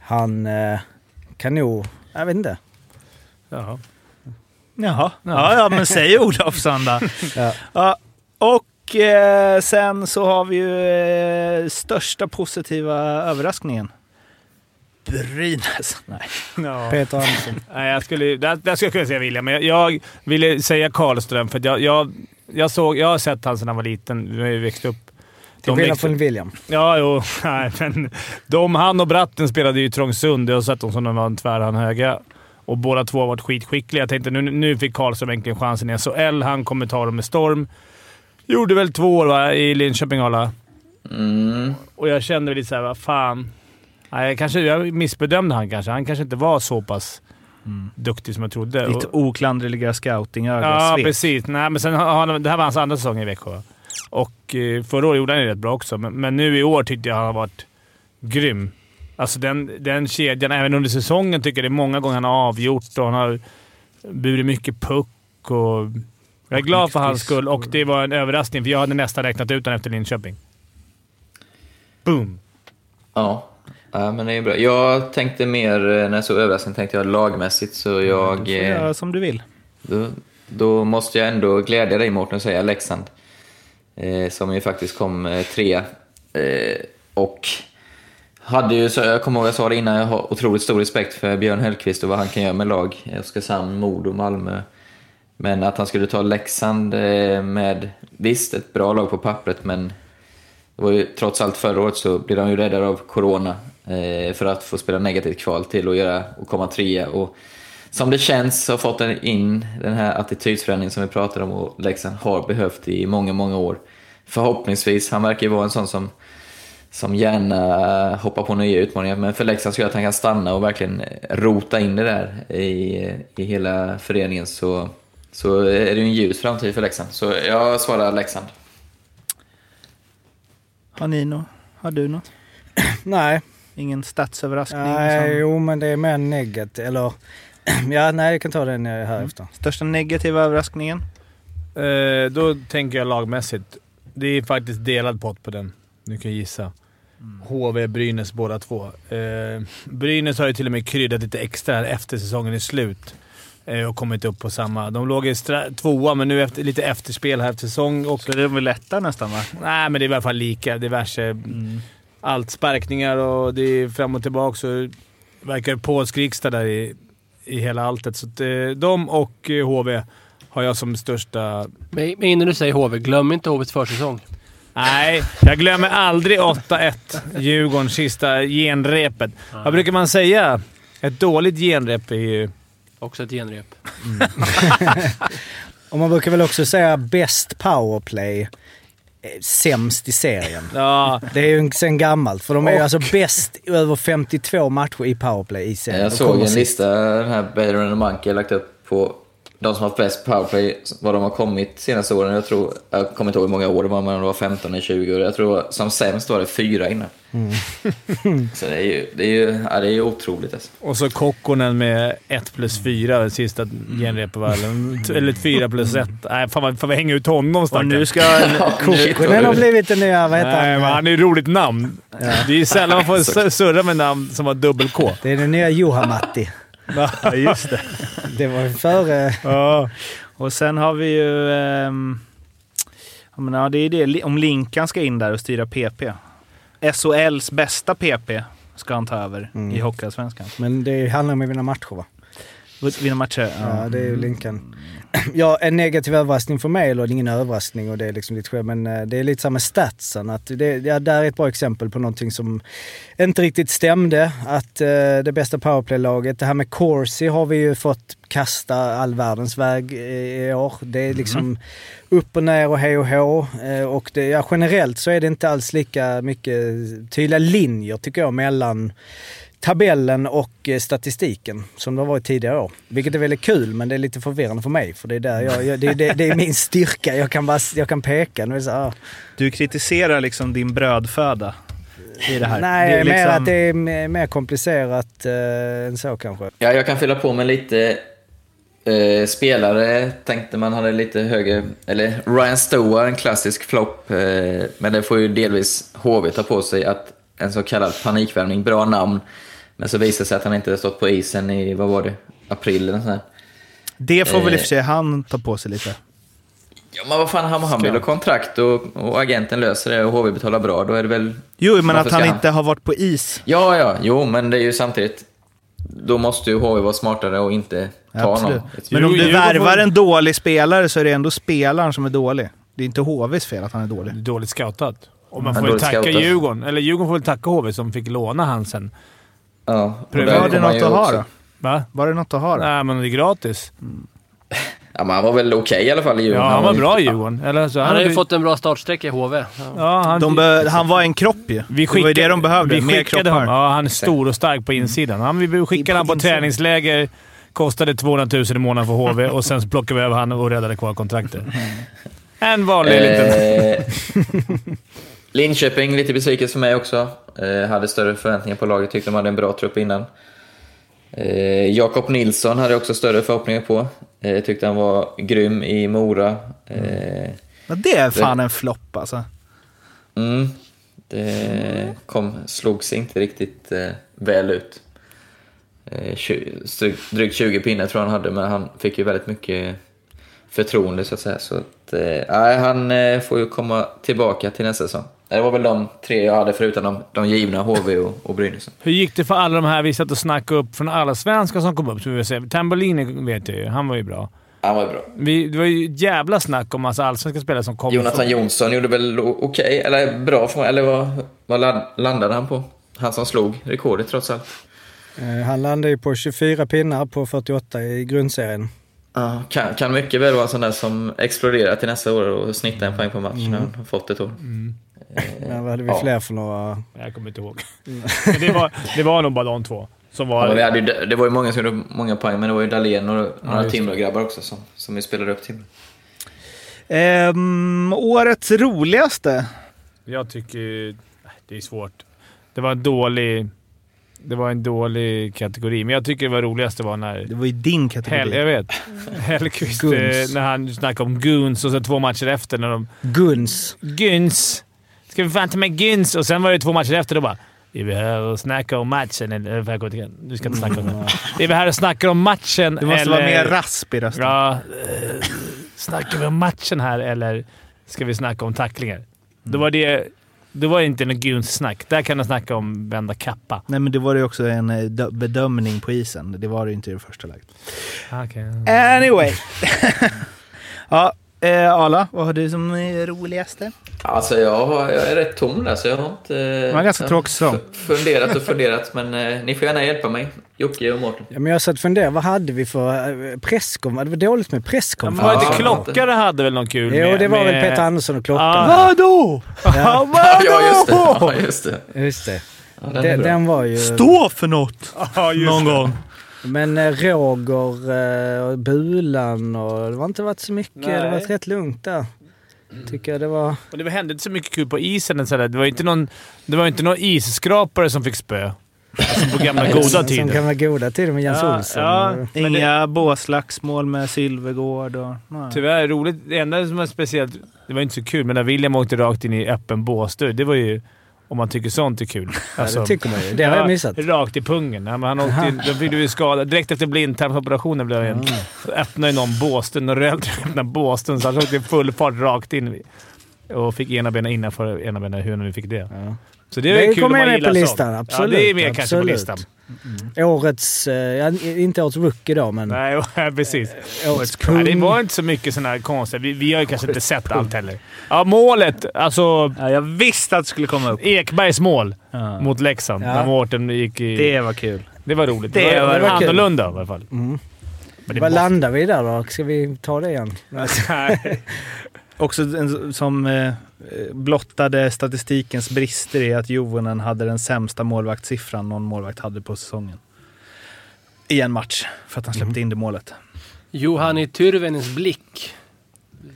Speaker 2: han eh, kan nog... Jag vet inte.
Speaker 7: Jaha.
Speaker 10: Jaha. Ja, ja men säg Olofsson då. ja. och eh, sen så har vi ju eh, största positiva överraskningen. Brynäs. Nej.
Speaker 7: Ja.
Speaker 2: Peter Andersson.
Speaker 7: Nej, jag skulle, där, där skulle jag kunna säga William, men jag, jag ville säga Karlström för att jag, jag, jag, såg, jag har sett han sedan han var liten. Vi har ju växt upp.
Speaker 2: Till
Speaker 7: De
Speaker 2: skillnad
Speaker 7: växte-
Speaker 2: från William.
Speaker 7: Ja, jo. Nej, men de, han och Bratten spelade ju i Trångsund. Jag har sett dem som de var en tvärhan höga. Och båda två har varit skitskickliga. Jag tänkte nu, nu fick Karlström äntligen chansen i SHL. Han kommer ta dem med storm. Gjorde väl två år va, i Linköping Arla.
Speaker 8: Mm.
Speaker 7: Och jag kände väl lite såhär, vad fan. Nej, jag, kanske, jag missbedömde han kanske. Han kanske inte var så pass duktig som jag trodde.
Speaker 10: Ditt
Speaker 7: Och-
Speaker 10: oklandriga scoutingöga
Speaker 7: Ja,
Speaker 10: svek.
Speaker 7: precis. Nej, men sen har han, det här var hans andra säsong i Växjö. va? Och eh, förra året gjorde han det rätt bra också, men, men nu i år tyckte jag han har varit grym. Alltså den, den kedjan, även under säsongen, tycker jag det är många gånger han har avgjort och han har burit mycket puck. Och jag är glad för hans skull och det var en överraskning, för jag hade nästan räknat ut honom efter Linköping. Boom!
Speaker 8: Ja. ja, men det är bra. Jag tänkte mer, eh, när jag såg överraskningen, tänkte jag lagmässigt, så jag...
Speaker 10: Du får
Speaker 8: eh,
Speaker 10: göra som du vill.
Speaker 8: Då, då måste jag ändå glädja dig Mårten och säga Leksand. Eh, som ju faktiskt kom eh, trea. Eh, och hade ju, så jag kommer ihåg jag sa det innan, jag har otroligt stor respekt för Björn Hellkvist och vad han kan göra med lag. Eh, Oskarshamn, Modo, Malmö. Men att han skulle ta Leksand eh, med, visst ett bra lag på pappret, men det var ju trots allt förra året så blev de ju räddade av corona eh, för att få spela negativt kval till och, göra, och komma trea. Och som det känns har fått en- in den här attitydsförändringen som vi pratade om och Leksand har behövt i många, många år. Förhoppningsvis. Han verkar ju vara en sån som, som gärna eh, hoppar på nya utmaningar. Men för Leksand så gör jag att han kan stanna och verkligen rota in det där i, i hela föreningen. Så, så är det ju en ljus framtid för Leksand. Så jag svarar Leksand.
Speaker 10: Har ni något? Har du något?
Speaker 2: Nej.
Speaker 10: Ingen statsöverraskning?
Speaker 2: Nej,
Speaker 10: som-
Speaker 2: jo, men det är mer negativt. Eller... ja, nej, jag kan ta den eh, här efter.
Speaker 10: Största negativa överraskningen?
Speaker 7: Eh, då tänker jag lagmässigt. Det är faktiskt delad pott på den. Du kan gissa.
Speaker 10: Mm.
Speaker 7: HV, Brynäs båda två. Eh, Brynäs har ju till och med kryddat lite extra här efter säsongen är slut eh, och kommit upp på samma. De låg i stra- tvåa, men nu efter, lite efterspel här efter säsong. Och,
Speaker 10: Så det är väl lätta nästan va? Mm.
Speaker 7: nej, men det är i alla fall lika. Diverse allt sparkningar och det är fram och tillbaka. Så det verkar påskriksta där i, i hela alltet. Så att, eh, de och eh, HV har jag som största
Speaker 9: Men, men innan du säger HV, glöm inte HVs försäsong.
Speaker 7: Nej, jag glömmer aldrig 8-1. Djurgårdens sista genrepet. Vad brukar man säga? Ett dåligt genrep är ju...
Speaker 9: Också ett genrep.
Speaker 2: Och man brukar väl också säga bäst powerplay, eh, sämst i serien.
Speaker 7: Ja,
Speaker 2: Det är ju sen gammalt, för de är ju alltså bäst i över 52 matcher i powerplay i serien.
Speaker 8: Eh, Jag
Speaker 2: De
Speaker 8: såg
Speaker 2: kommer
Speaker 8: en
Speaker 2: sist.
Speaker 8: lista den här Bayern and Monkey har lagt upp på de som har haft bäst powerplay, vad de har kommit senaste åren. Jag, tror, jag kommer inte ihåg hur många år det var, men om det var 15 eller 20 år. Jag tror som sämst var det fyra innan.
Speaker 2: Mm.
Speaker 8: Så det är ju, det är ju, ja, det är ju otroligt alltså.
Speaker 7: Och så Kokkonen med 1 plus 4, den sista genrepet. Eller 4 plus 1. Nej, fan vad- fan, vi hänger ut honom stackarn.
Speaker 3: nu ska-
Speaker 2: Kokkonen har blivit den nya, vad heter
Speaker 7: Nej,
Speaker 2: han?
Speaker 7: men han är ju roligt namn. Det är ju sällan man får sur- surra med namn som har dubbel-K.
Speaker 2: Det är den nya Juhamatti.
Speaker 7: Ja, just det.
Speaker 2: Det var ju före...
Speaker 7: Ja.
Speaker 10: Och sen har vi ju... ehm, ja, men, ja, det är det. Om Linkan ska in där och styra PP. SHLs bästa PP ska han ta över i Hockeyallsvenskan.
Speaker 2: Men det handlar om att vinna matcher va?
Speaker 10: Vinna matcher. Ja.
Speaker 2: Ja, det är ju Linkan. Ja, en negativ överraskning för mig, eller ingen överraskning och det är liksom lite skämt, men eh, det är lite samma med statsen. Att det, ja, där är ett bra exempel på någonting som inte riktigt stämde. Att eh, det bästa powerplay-laget, det här med Corsi har vi ju fått kasta all världens väg eh, i år. Det är liksom upp och ner och hej och hå. Eh, och det, ja, generellt så är det inte alls lika mycket tydliga linjer tycker jag mellan tabellen och eh, statistiken som det har varit tidigare år. Vilket är väldigt kul men det är lite förvirrande för mig för det är, där jag, jag, det, det, det är min styrka. Jag kan, bara, jag kan peka. Nu är det så, här, ah.
Speaker 10: Du kritiserar liksom din brödföda i det här.
Speaker 2: Nej,
Speaker 10: det är
Speaker 2: mer
Speaker 10: liksom-
Speaker 2: att det är m- mer komplicerat eh, än så kanske.
Speaker 8: Ja, jag kan fylla på med lite eh, spelare. Tänkte man hade lite högre... Eller Ryan Stoa, en klassisk flopp. Eh, men det får ju delvis HV ta på sig att en så kallad panikvärmning, bra namn. Men så visade det sig att han inte hade stått på isen i, vad var det, april eller sånt där.
Speaker 10: Det får väl i och för
Speaker 8: Eh.
Speaker 10: sig han ta på sig lite.
Speaker 8: Ja, men vad fan, han, han vill ha kontrakt och, och agenten löser det och HV betalar bra. Då är det väl...
Speaker 10: Jo, men
Speaker 8: Varför
Speaker 10: att
Speaker 8: ska
Speaker 10: han inte har varit på is.
Speaker 8: Ja, ja, jo, men det är ju samtidigt... Då måste ju HV vara smartare och inte ta
Speaker 10: Absolut.
Speaker 8: någon.
Speaker 10: Men om
Speaker 7: Jo,
Speaker 10: du
Speaker 7: jo, då får-
Speaker 10: värvar en dålig spelare så är det ändå spelaren som är dålig. Det är inte HVs fel att han är dålig.
Speaker 7: Dåligt scoutat. Och man
Speaker 8: Ja,
Speaker 7: får ju
Speaker 8: dåligt
Speaker 7: tacka
Speaker 8: scoutat.
Speaker 7: Djurgården. Eller Djurgården får väl tacka HV som fick låna han sen.
Speaker 8: Ja, och där
Speaker 10: Var det
Speaker 8: kommer
Speaker 10: något
Speaker 8: ju
Speaker 10: att ha
Speaker 8: också-
Speaker 10: då?
Speaker 7: Va?
Speaker 10: Var det något att ha då?
Speaker 7: Nej, men det är gratis.
Speaker 8: Ja, men han var väl okej i alla fall i Djurgården.
Speaker 7: Ja, han var
Speaker 8: ju-
Speaker 7: bra i Djurgården. Eller, så,
Speaker 9: Han har ju
Speaker 7: hade-
Speaker 9: fått en bra startsträcka i HV. Ja.
Speaker 7: Ja, han,
Speaker 10: De be- han var en kropp ju.
Speaker 7: vi
Speaker 10: det var ju
Speaker 7: skickade-
Speaker 10: det de behövde.
Speaker 7: Vi
Speaker 10: Mer
Speaker 7: skickade honom.
Speaker 10: kroppar.
Speaker 7: Ja, han är stor och stark på insidan. Han, vi skickade honom på
Speaker 10: insidan.
Speaker 7: träningsläger. Kostade 200 000 i månaden för HV och sen plockade vi över honom och räddade kvar kontraktet. En vanlig liten...
Speaker 8: Eh, Linköping, lite besvikelse för mig också. Eh, hade större förväntningar på laget, tyckte de hade en bra trupp innan. Eh, Jakob Nilsson hade jag också större förhoppningar på. Eh, tyckte han var grym i Mora. Eh,
Speaker 10: Ja, det är fan en flopp alltså.
Speaker 8: mm, det kom, slog sig inte riktigt eh, väl ut. Eh, tju- stryk- drygt 20 pinnar tror jag han hade, men han fick ju väldigt mycket förtroende så att säga. Så att, eh, nej, han eh, får ju komma tillbaka till nästa säsong. Eh, Det var väl de tre jag hade förutom de, de givna, HV och, och Brynäs.
Speaker 7: Hur gick det för alla de här vi satt och snackade upp från alla svenskar som kom upp? som vi vill säga. Tambolini vet jag ju. Han var ju bra.
Speaker 8: Han var ju bra.
Speaker 7: Vi, det var ju ett jävla snack om massa allsvenska spelare som kom.
Speaker 8: Jonathan Jonsson gjorde väl o- okej, eller bra för mig, eller vad, vad land- landade han på? Han som slog rekordet trots allt.
Speaker 2: Eh, han landade ju på 24 pinnar på 48 i grundserien.
Speaker 8: Ja, kan, kan mycket väl vara en sån där som exploderar till nästa år och snittar en poäng på match när han har fått ett år.
Speaker 10: Eh,
Speaker 2: Där hade vi
Speaker 8: Ja.
Speaker 2: fler för några...
Speaker 7: Jag kommer inte ihåg. Men det, var, det var nog bara de två som
Speaker 8: Ja,
Speaker 7: var...
Speaker 8: men vi hade ju, det var ju många som gjorde många poäng, men det var ju Dahlén och några
Speaker 7: just det.
Speaker 8: Timrå-grabbar också som, som vi spelade upp Timrå.
Speaker 10: Ehm, årets roligaste?
Speaker 7: Jag tycker ju- nej, Det är svårt. Det var en dålig... Det var en dålig kategori, men jag tycker det var roligast det var när...
Speaker 10: Det var ju din
Speaker 7: Hell,
Speaker 10: kategori.
Speaker 7: jag vet. Hellqvist, eh,
Speaker 2: Guns.
Speaker 7: när han snackade om Guns och så två matcher efter när de...
Speaker 2: Guns.
Speaker 7: Guns! Ska vi fan ta med Guns? Och sen var det två matcher efter då bara... Vi är här och snackar om matchen, eller... Får jag gå till- Du ska inte snacka om det. Vi är här och snackar om matchen,
Speaker 10: Det måste
Speaker 7: eller...
Speaker 10: vara mer rasp i rösten.
Speaker 7: Ja, eh, snackar vi om matchen här eller ska vi snacka om tacklingar?
Speaker 2: Mm.
Speaker 7: Då var det, då var det inte något guns snack. Där kan man snacka om vända kappa.
Speaker 10: Nej, men det var ju också en eh, dö- bedömning på isen. Det var det ju inte i det första läget.
Speaker 2: Ah,
Speaker 7: Okay.
Speaker 10: Anyway. ja, eh, Arla, vad har du som eh, roligaste?
Speaker 8: Alltså jag, har, jag är rätt tom där, så jag har inte... Det
Speaker 10: var en ganska tråkig säsong.
Speaker 8: Funderat och funderat, men eh, ni får gärna hjälpa mig. Jocke och Mårten.
Speaker 2: Ja, men jag satt och funderade, vad hade vi för eh, presskom? Det var dåligt med presskonferens.
Speaker 7: Var det inte
Speaker 8: Ja.
Speaker 7: Klockare hade väl någon kul
Speaker 2: Jo,
Speaker 7: med-
Speaker 2: det var väl
Speaker 7: med-
Speaker 2: Peter Andersson och Klockan.
Speaker 10: Ah.
Speaker 7: Ja.
Speaker 10: Vadå?
Speaker 2: Ja.
Speaker 8: Ja, just det. Ja, just det.
Speaker 2: Just det.
Speaker 8: Ja, den är
Speaker 2: Den,
Speaker 8: bra.
Speaker 2: den var ju...
Speaker 10: Stå för något!
Speaker 7: Ja, just
Speaker 10: Någon
Speaker 7: det.
Speaker 10: gång.
Speaker 2: Men eh, Roger eh, och Bulan och det har inte varit så mycket. Det har
Speaker 7: Nej.
Speaker 2: varit rätt lugnt där. Tycker jag det var.
Speaker 7: Och det hände inte så mycket kul på isen. än Så där. det var ju inte någon, det var ju inte någon isskrapare som fick spö. Alltså på gamla goda
Speaker 2: Som- Som
Speaker 7: tider.
Speaker 2: gamla goda tider med Jens
Speaker 7: Ja,
Speaker 2: Olsson.
Speaker 7: ja.
Speaker 2: Och-
Speaker 10: Inga båslagsmål med Sylvegård och... Nej.
Speaker 7: Tyvärr roligt. Det enda som var speciellt, det var ju inte så kul, men när William åkte rakt in i öppen båsdörr. Det var ju, om man tycker sånt är kul. Alltså,
Speaker 2: det tycker man ju. Det har jag
Speaker 7: Ja,
Speaker 2: missat.
Speaker 7: Rakt i pungen. Ja, men han åkte in, de blev ju skadad. Direkt efter blindtarmsoperationen blev han mm. öppnade ju någon båsdörren och röll öppnade båsdörren, så han åkte i full fart rakt in. Och fick ena benen innanför ena benen. Hur nu fick det. Så det, är
Speaker 2: Det
Speaker 7: ju kul om
Speaker 2: kommer
Speaker 7: man
Speaker 2: med på
Speaker 7: gillar
Speaker 2: listan,
Speaker 7: sånt.
Speaker 2: absolut,
Speaker 7: Ja, det är med kanske på
Speaker 2: absolut.
Speaker 7: listan. Mm.
Speaker 2: Årets, eh, ja, inte årets rookie då, men
Speaker 7: Nej, precis.
Speaker 2: Mm. årets kung.
Speaker 7: Nej, det var inte så mycket sådana här konstiga. Vi, vi har ju kanske inte sett allt heller. Ja, målet. Alltså...
Speaker 10: jag visste att det skulle komma upp.
Speaker 7: Ekbergs mål
Speaker 10: Ja.
Speaker 7: mot Leksand
Speaker 2: Ja.
Speaker 7: när Mårten gick i...
Speaker 10: Det var kul.
Speaker 7: det var roligt.
Speaker 10: det
Speaker 7: Det, var,
Speaker 10: var-
Speaker 7: det var
Speaker 2: kul.
Speaker 7: annorlunda i alla fall.
Speaker 2: Mm.
Speaker 7: Men det
Speaker 2: Vad
Speaker 7: måste-
Speaker 2: landar vi där då? Ska vi ta det igen?
Speaker 7: Nej.
Speaker 10: Också en, som eh, blottade statistikens brister i att Jovonen hade den sämsta målvaktssiffran någon målvakt hade på säsongen. I en match, för att han släppte in det målet.
Speaker 9: Johanni Tyrvenens blick.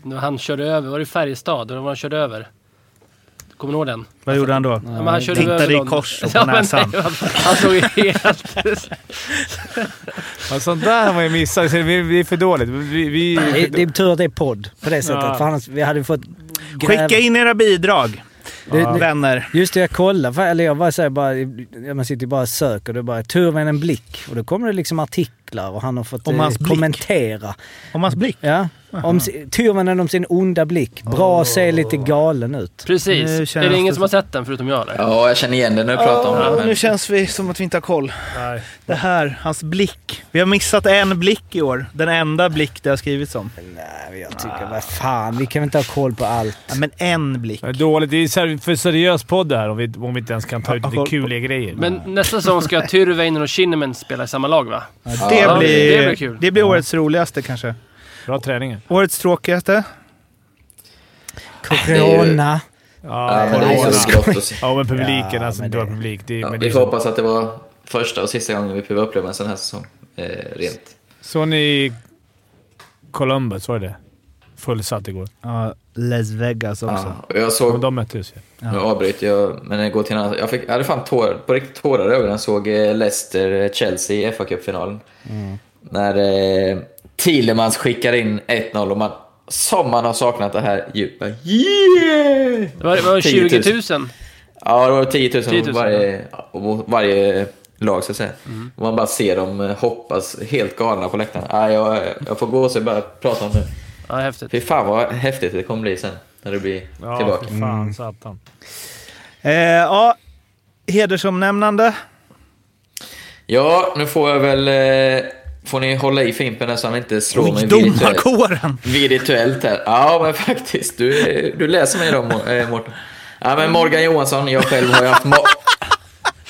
Speaker 9: När han körde över, var det Färjestad? När han körde över? Kommer ni ihåg den?
Speaker 10: Vad gjorde han då?
Speaker 9: Ja, men han körde över
Speaker 10: Tittade i
Speaker 9: någon.
Speaker 10: kors och på
Speaker 9: Ja, men
Speaker 10: näsan.
Speaker 9: nej, Han såg ju helt...
Speaker 7: Ja, sånt där har man ju missat. Så Det det är för dåligt. Vi, vi,
Speaker 2: Det, det är tur att det är podd på det sättet,
Speaker 7: Ja.
Speaker 2: för annars vi hade fått gräva-
Speaker 10: Skicka in era bidrag,
Speaker 2: Det- det-
Speaker 10: vänner.
Speaker 2: Just det, jag kollar. för- Eller jag bara säger bara, ja, man sitter ju bara och söker. Det är bara Turven en blick. Och då kommer det liksom artiklar och han har fått eh,
Speaker 10: Om hans blick?
Speaker 2: kommentera.
Speaker 10: Om hans blick.
Speaker 2: Ja. Om si- Turvenen om sin onda blick. Bra, ser lite galen ut.
Speaker 10: Nu
Speaker 9: Precis.
Speaker 10: känns
Speaker 9: Är det
Speaker 10: det
Speaker 9: ingen som har sett den förutom jag? Eller?
Speaker 8: Ja, jag känner igen det när du pratar om det.
Speaker 10: nu
Speaker 8: Men
Speaker 10: känns vi som att vi inte har koll.
Speaker 7: Nej.
Speaker 10: Det här, hans blick. Vi har missat en blick i år. Den enda blick det har skrivits om.
Speaker 2: Nej, jag tycker, vad fan, vi kan väl inte ha koll på allt.
Speaker 10: Ja, men en blick.
Speaker 7: Det är dåligt. Det är ser- för seriös podd det här om vi, om vi inte ens kan ta ut lite kuliga grejer.
Speaker 9: Men nästa säsong ska Tyrväinen och Kinnamen spela i samma lag va?
Speaker 10: Det
Speaker 9: Ja,
Speaker 10: blir,
Speaker 9: det blir kul.
Speaker 10: Det blir årets roligaste kanske.
Speaker 7: Bra träningar.
Speaker 10: Årets tråkigaste?
Speaker 8: är ju-
Speaker 2: Corona.
Speaker 7: Ja,
Speaker 8: ja, men det är ju så grått att se.
Speaker 7: ja men publiken.
Speaker 2: Ja,
Speaker 7: alltså,
Speaker 2: men
Speaker 7: det var
Speaker 2: det-
Speaker 7: publik. Det,
Speaker 8: Ja,
Speaker 7: men det
Speaker 8: Vi
Speaker 7: är
Speaker 8: får
Speaker 7: så.
Speaker 8: hoppas att det var första och sista gången vi behöver uppleva en sån här säsong. Eh, rent.
Speaker 7: Såg ni Columbus? Var det det? Fullsatt igår.
Speaker 10: Ja, Las Vegas också.
Speaker 8: Ja, och jag
Speaker 7: Men
Speaker 8: såg...
Speaker 7: de möttes ju.
Speaker 8: Nu avbryter jag, men jag går till en annan. Jag, fick, jag hade fan tår, på riktigt tårar över den såg eh, Leicester-Chelsea i FA-cupfinalen.
Speaker 7: Mm.
Speaker 8: När eh, Thielemans skickar in 1-0 och man... Som man har saknat det här djupa. Yeah!
Speaker 9: Det var, det var
Speaker 8: 10 000.
Speaker 9: 20 000.
Speaker 8: Ja, det var 10 000,
Speaker 9: 10 000,
Speaker 8: varje, och varje lag, så att säga.
Speaker 7: Mm.
Speaker 8: Och man bara ser dem eh, hoppas helt galna på läktaren. Ah, jag, jag får gå och så bara prata om det.
Speaker 9: Ja, häftigt.
Speaker 8: Fy fan vad häftigt det kommer bli sen, när det blir
Speaker 7: Ja,
Speaker 8: tillbaka.
Speaker 7: fy fan satan.
Speaker 10: Eh, ja, hedersomnämnande.
Speaker 8: Ja, nu får jag väl... Eh, får ni hålla i Fimpen här så han inte slår mig virtuellt,
Speaker 10: Domarkåren!
Speaker 8: virtuellt här. Ja, men faktiskt. Du, eh, du läser mig då, Mo- eh, Mårten. Ja, men Morgan Johansson, jag själv har ju haft... Mo-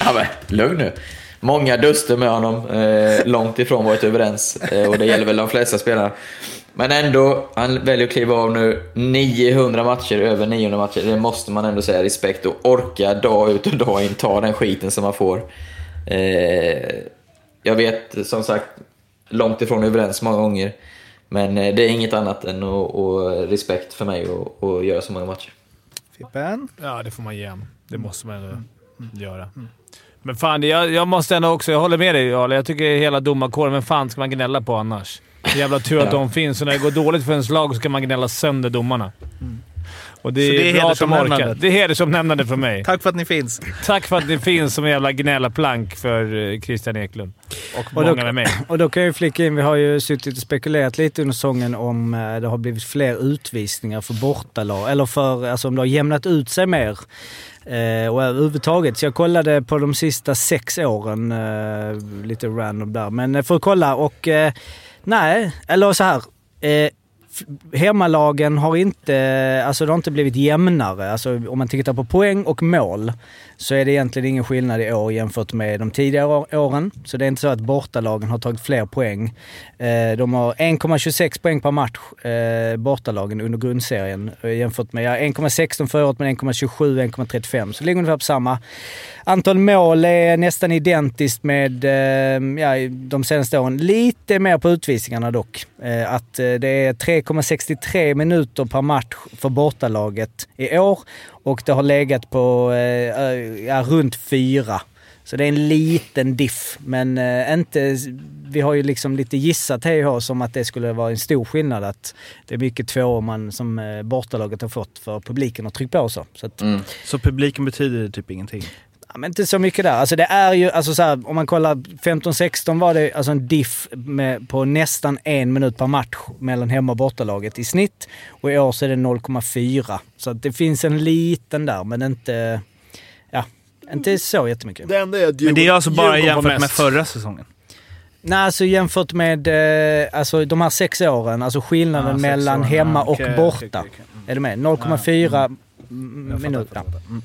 Speaker 8: ja, men, lugn nu. Många duster med honom, eh, långt ifrån varit överens. Eh, och det gäller väl de flesta spelare. Men ändå, han väljer att kliva av nu. 900 matcher, över 900 matcher. Det måste man ändå säga respekt och orka dag ut och dag in ta den skiten som man får. Eh, jag vet som sagt, långt ifrån överens många gånger. Men eh, det är inget annat än att, och respekt för mig och, och göra så många matcher.
Speaker 10: Fippen.
Speaker 7: Ja, det får man ge honom. Det måste man ändå göra. Men fan, det- jag, jag måste ändå också... Jag håller med dig, Ale. Jag tycker hela domarkåren, vem fan ska man gnälla på annars? Det är Jävla tur att de finns, och när det går dåligt för ens lag så kan man gnälla sönder domarna. Och det
Speaker 10: Så
Speaker 7: är,
Speaker 10: det är
Speaker 7: bra att de orkar.
Speaker 10: hedersomnämnandet.
Speaker 7: Det är hedersomnämnande för mig.
Speaker 10: Tack för att ni finns.
Speaker 7: Tack för att ni finns som en jävla gnällaplank för eh, Christian Eklund. Och,
Speaker 2: Och då-
Speaker 7: många med mig.
Speaker 2: Och då kan jag ju flicka in, vi har ju suttit och spekulerat lite under säsongen om eh, det har blivit fler utvisningar för bortalag, eller för, alltså om det har jämnat ut sig mer. Eh, och överhuvudtaget. Så jag kollade på de sista sex åren, eh, lite random där. Men eh, för att kolla och eh, nej, eller så här. Eh, hemmalagen har inte, alltså det har inte blivit jämnare. Alltså om man tittar på poäng och mål så är det egentligen ingen skillnad i år jämfört med de tidigare å- åren. Så det är inte så att bortalagen har tagit fler poäng. Eh, De har 1,26 poäng per match, eh, bortalagen, under grundserien eh, jämfört med ja, 1,16 förra året men 1,27, 1,35. Så det ligger ungefär på samma. Antal mål är nästan identiskt med eh, ja, de senaste åren. Lite mer på utvisningarna dock. Eh, Att eh, det är 3,63 minuter per match för bortalaget i år och det har legat på eh, eh, ja, runt fyra. Så det är en liten diff, men eh, inte... Vi har ju liksom lite gissat här och som att det skulle vara en stor skillnad att det är mycket tvåor man som eh, bortalaget har fått för publiken har tryckt på så. så att,
Speaker 3: Så publiken betyder typ ingenting?
Speaker 2: Ja, men inte så mycket där. Alltså det är ju, alltså så här, om man kollar 15-16 var det alltså en diff med, på nästan en minut per match mellan hemma och bortalaget i snitt. Och i år så är det 0,4. Så att det finns en liten där, men inte, ja, inte så jättemycket.
Speaker 11: Det enda är att
Speaker 3: Men det är alltså bara
Speaker 11: Djurgården var
Speaker 3: jämfört med
Speaker 11: mest.
Speaker 3: förra säsongen?
Speaker 2: Nej, alltså jämfört med eh, alltså, de här sex åren, alltså skillnaden
Speaker 3: Ah, sex
Speaker 2: mellan
Speaker 3: åren,
Speaker 2: hemma
Speaker 3: ah,
Speaker 2: och
Speaker 3: okej, okej,
Speaker 2: borta.
Speaker 3: okej, Mm. okej.
Speaker 2: Är du med? 0,4
Speaker 7: fattar,
Speaker 2: minuter.
Speaker 3: Mm.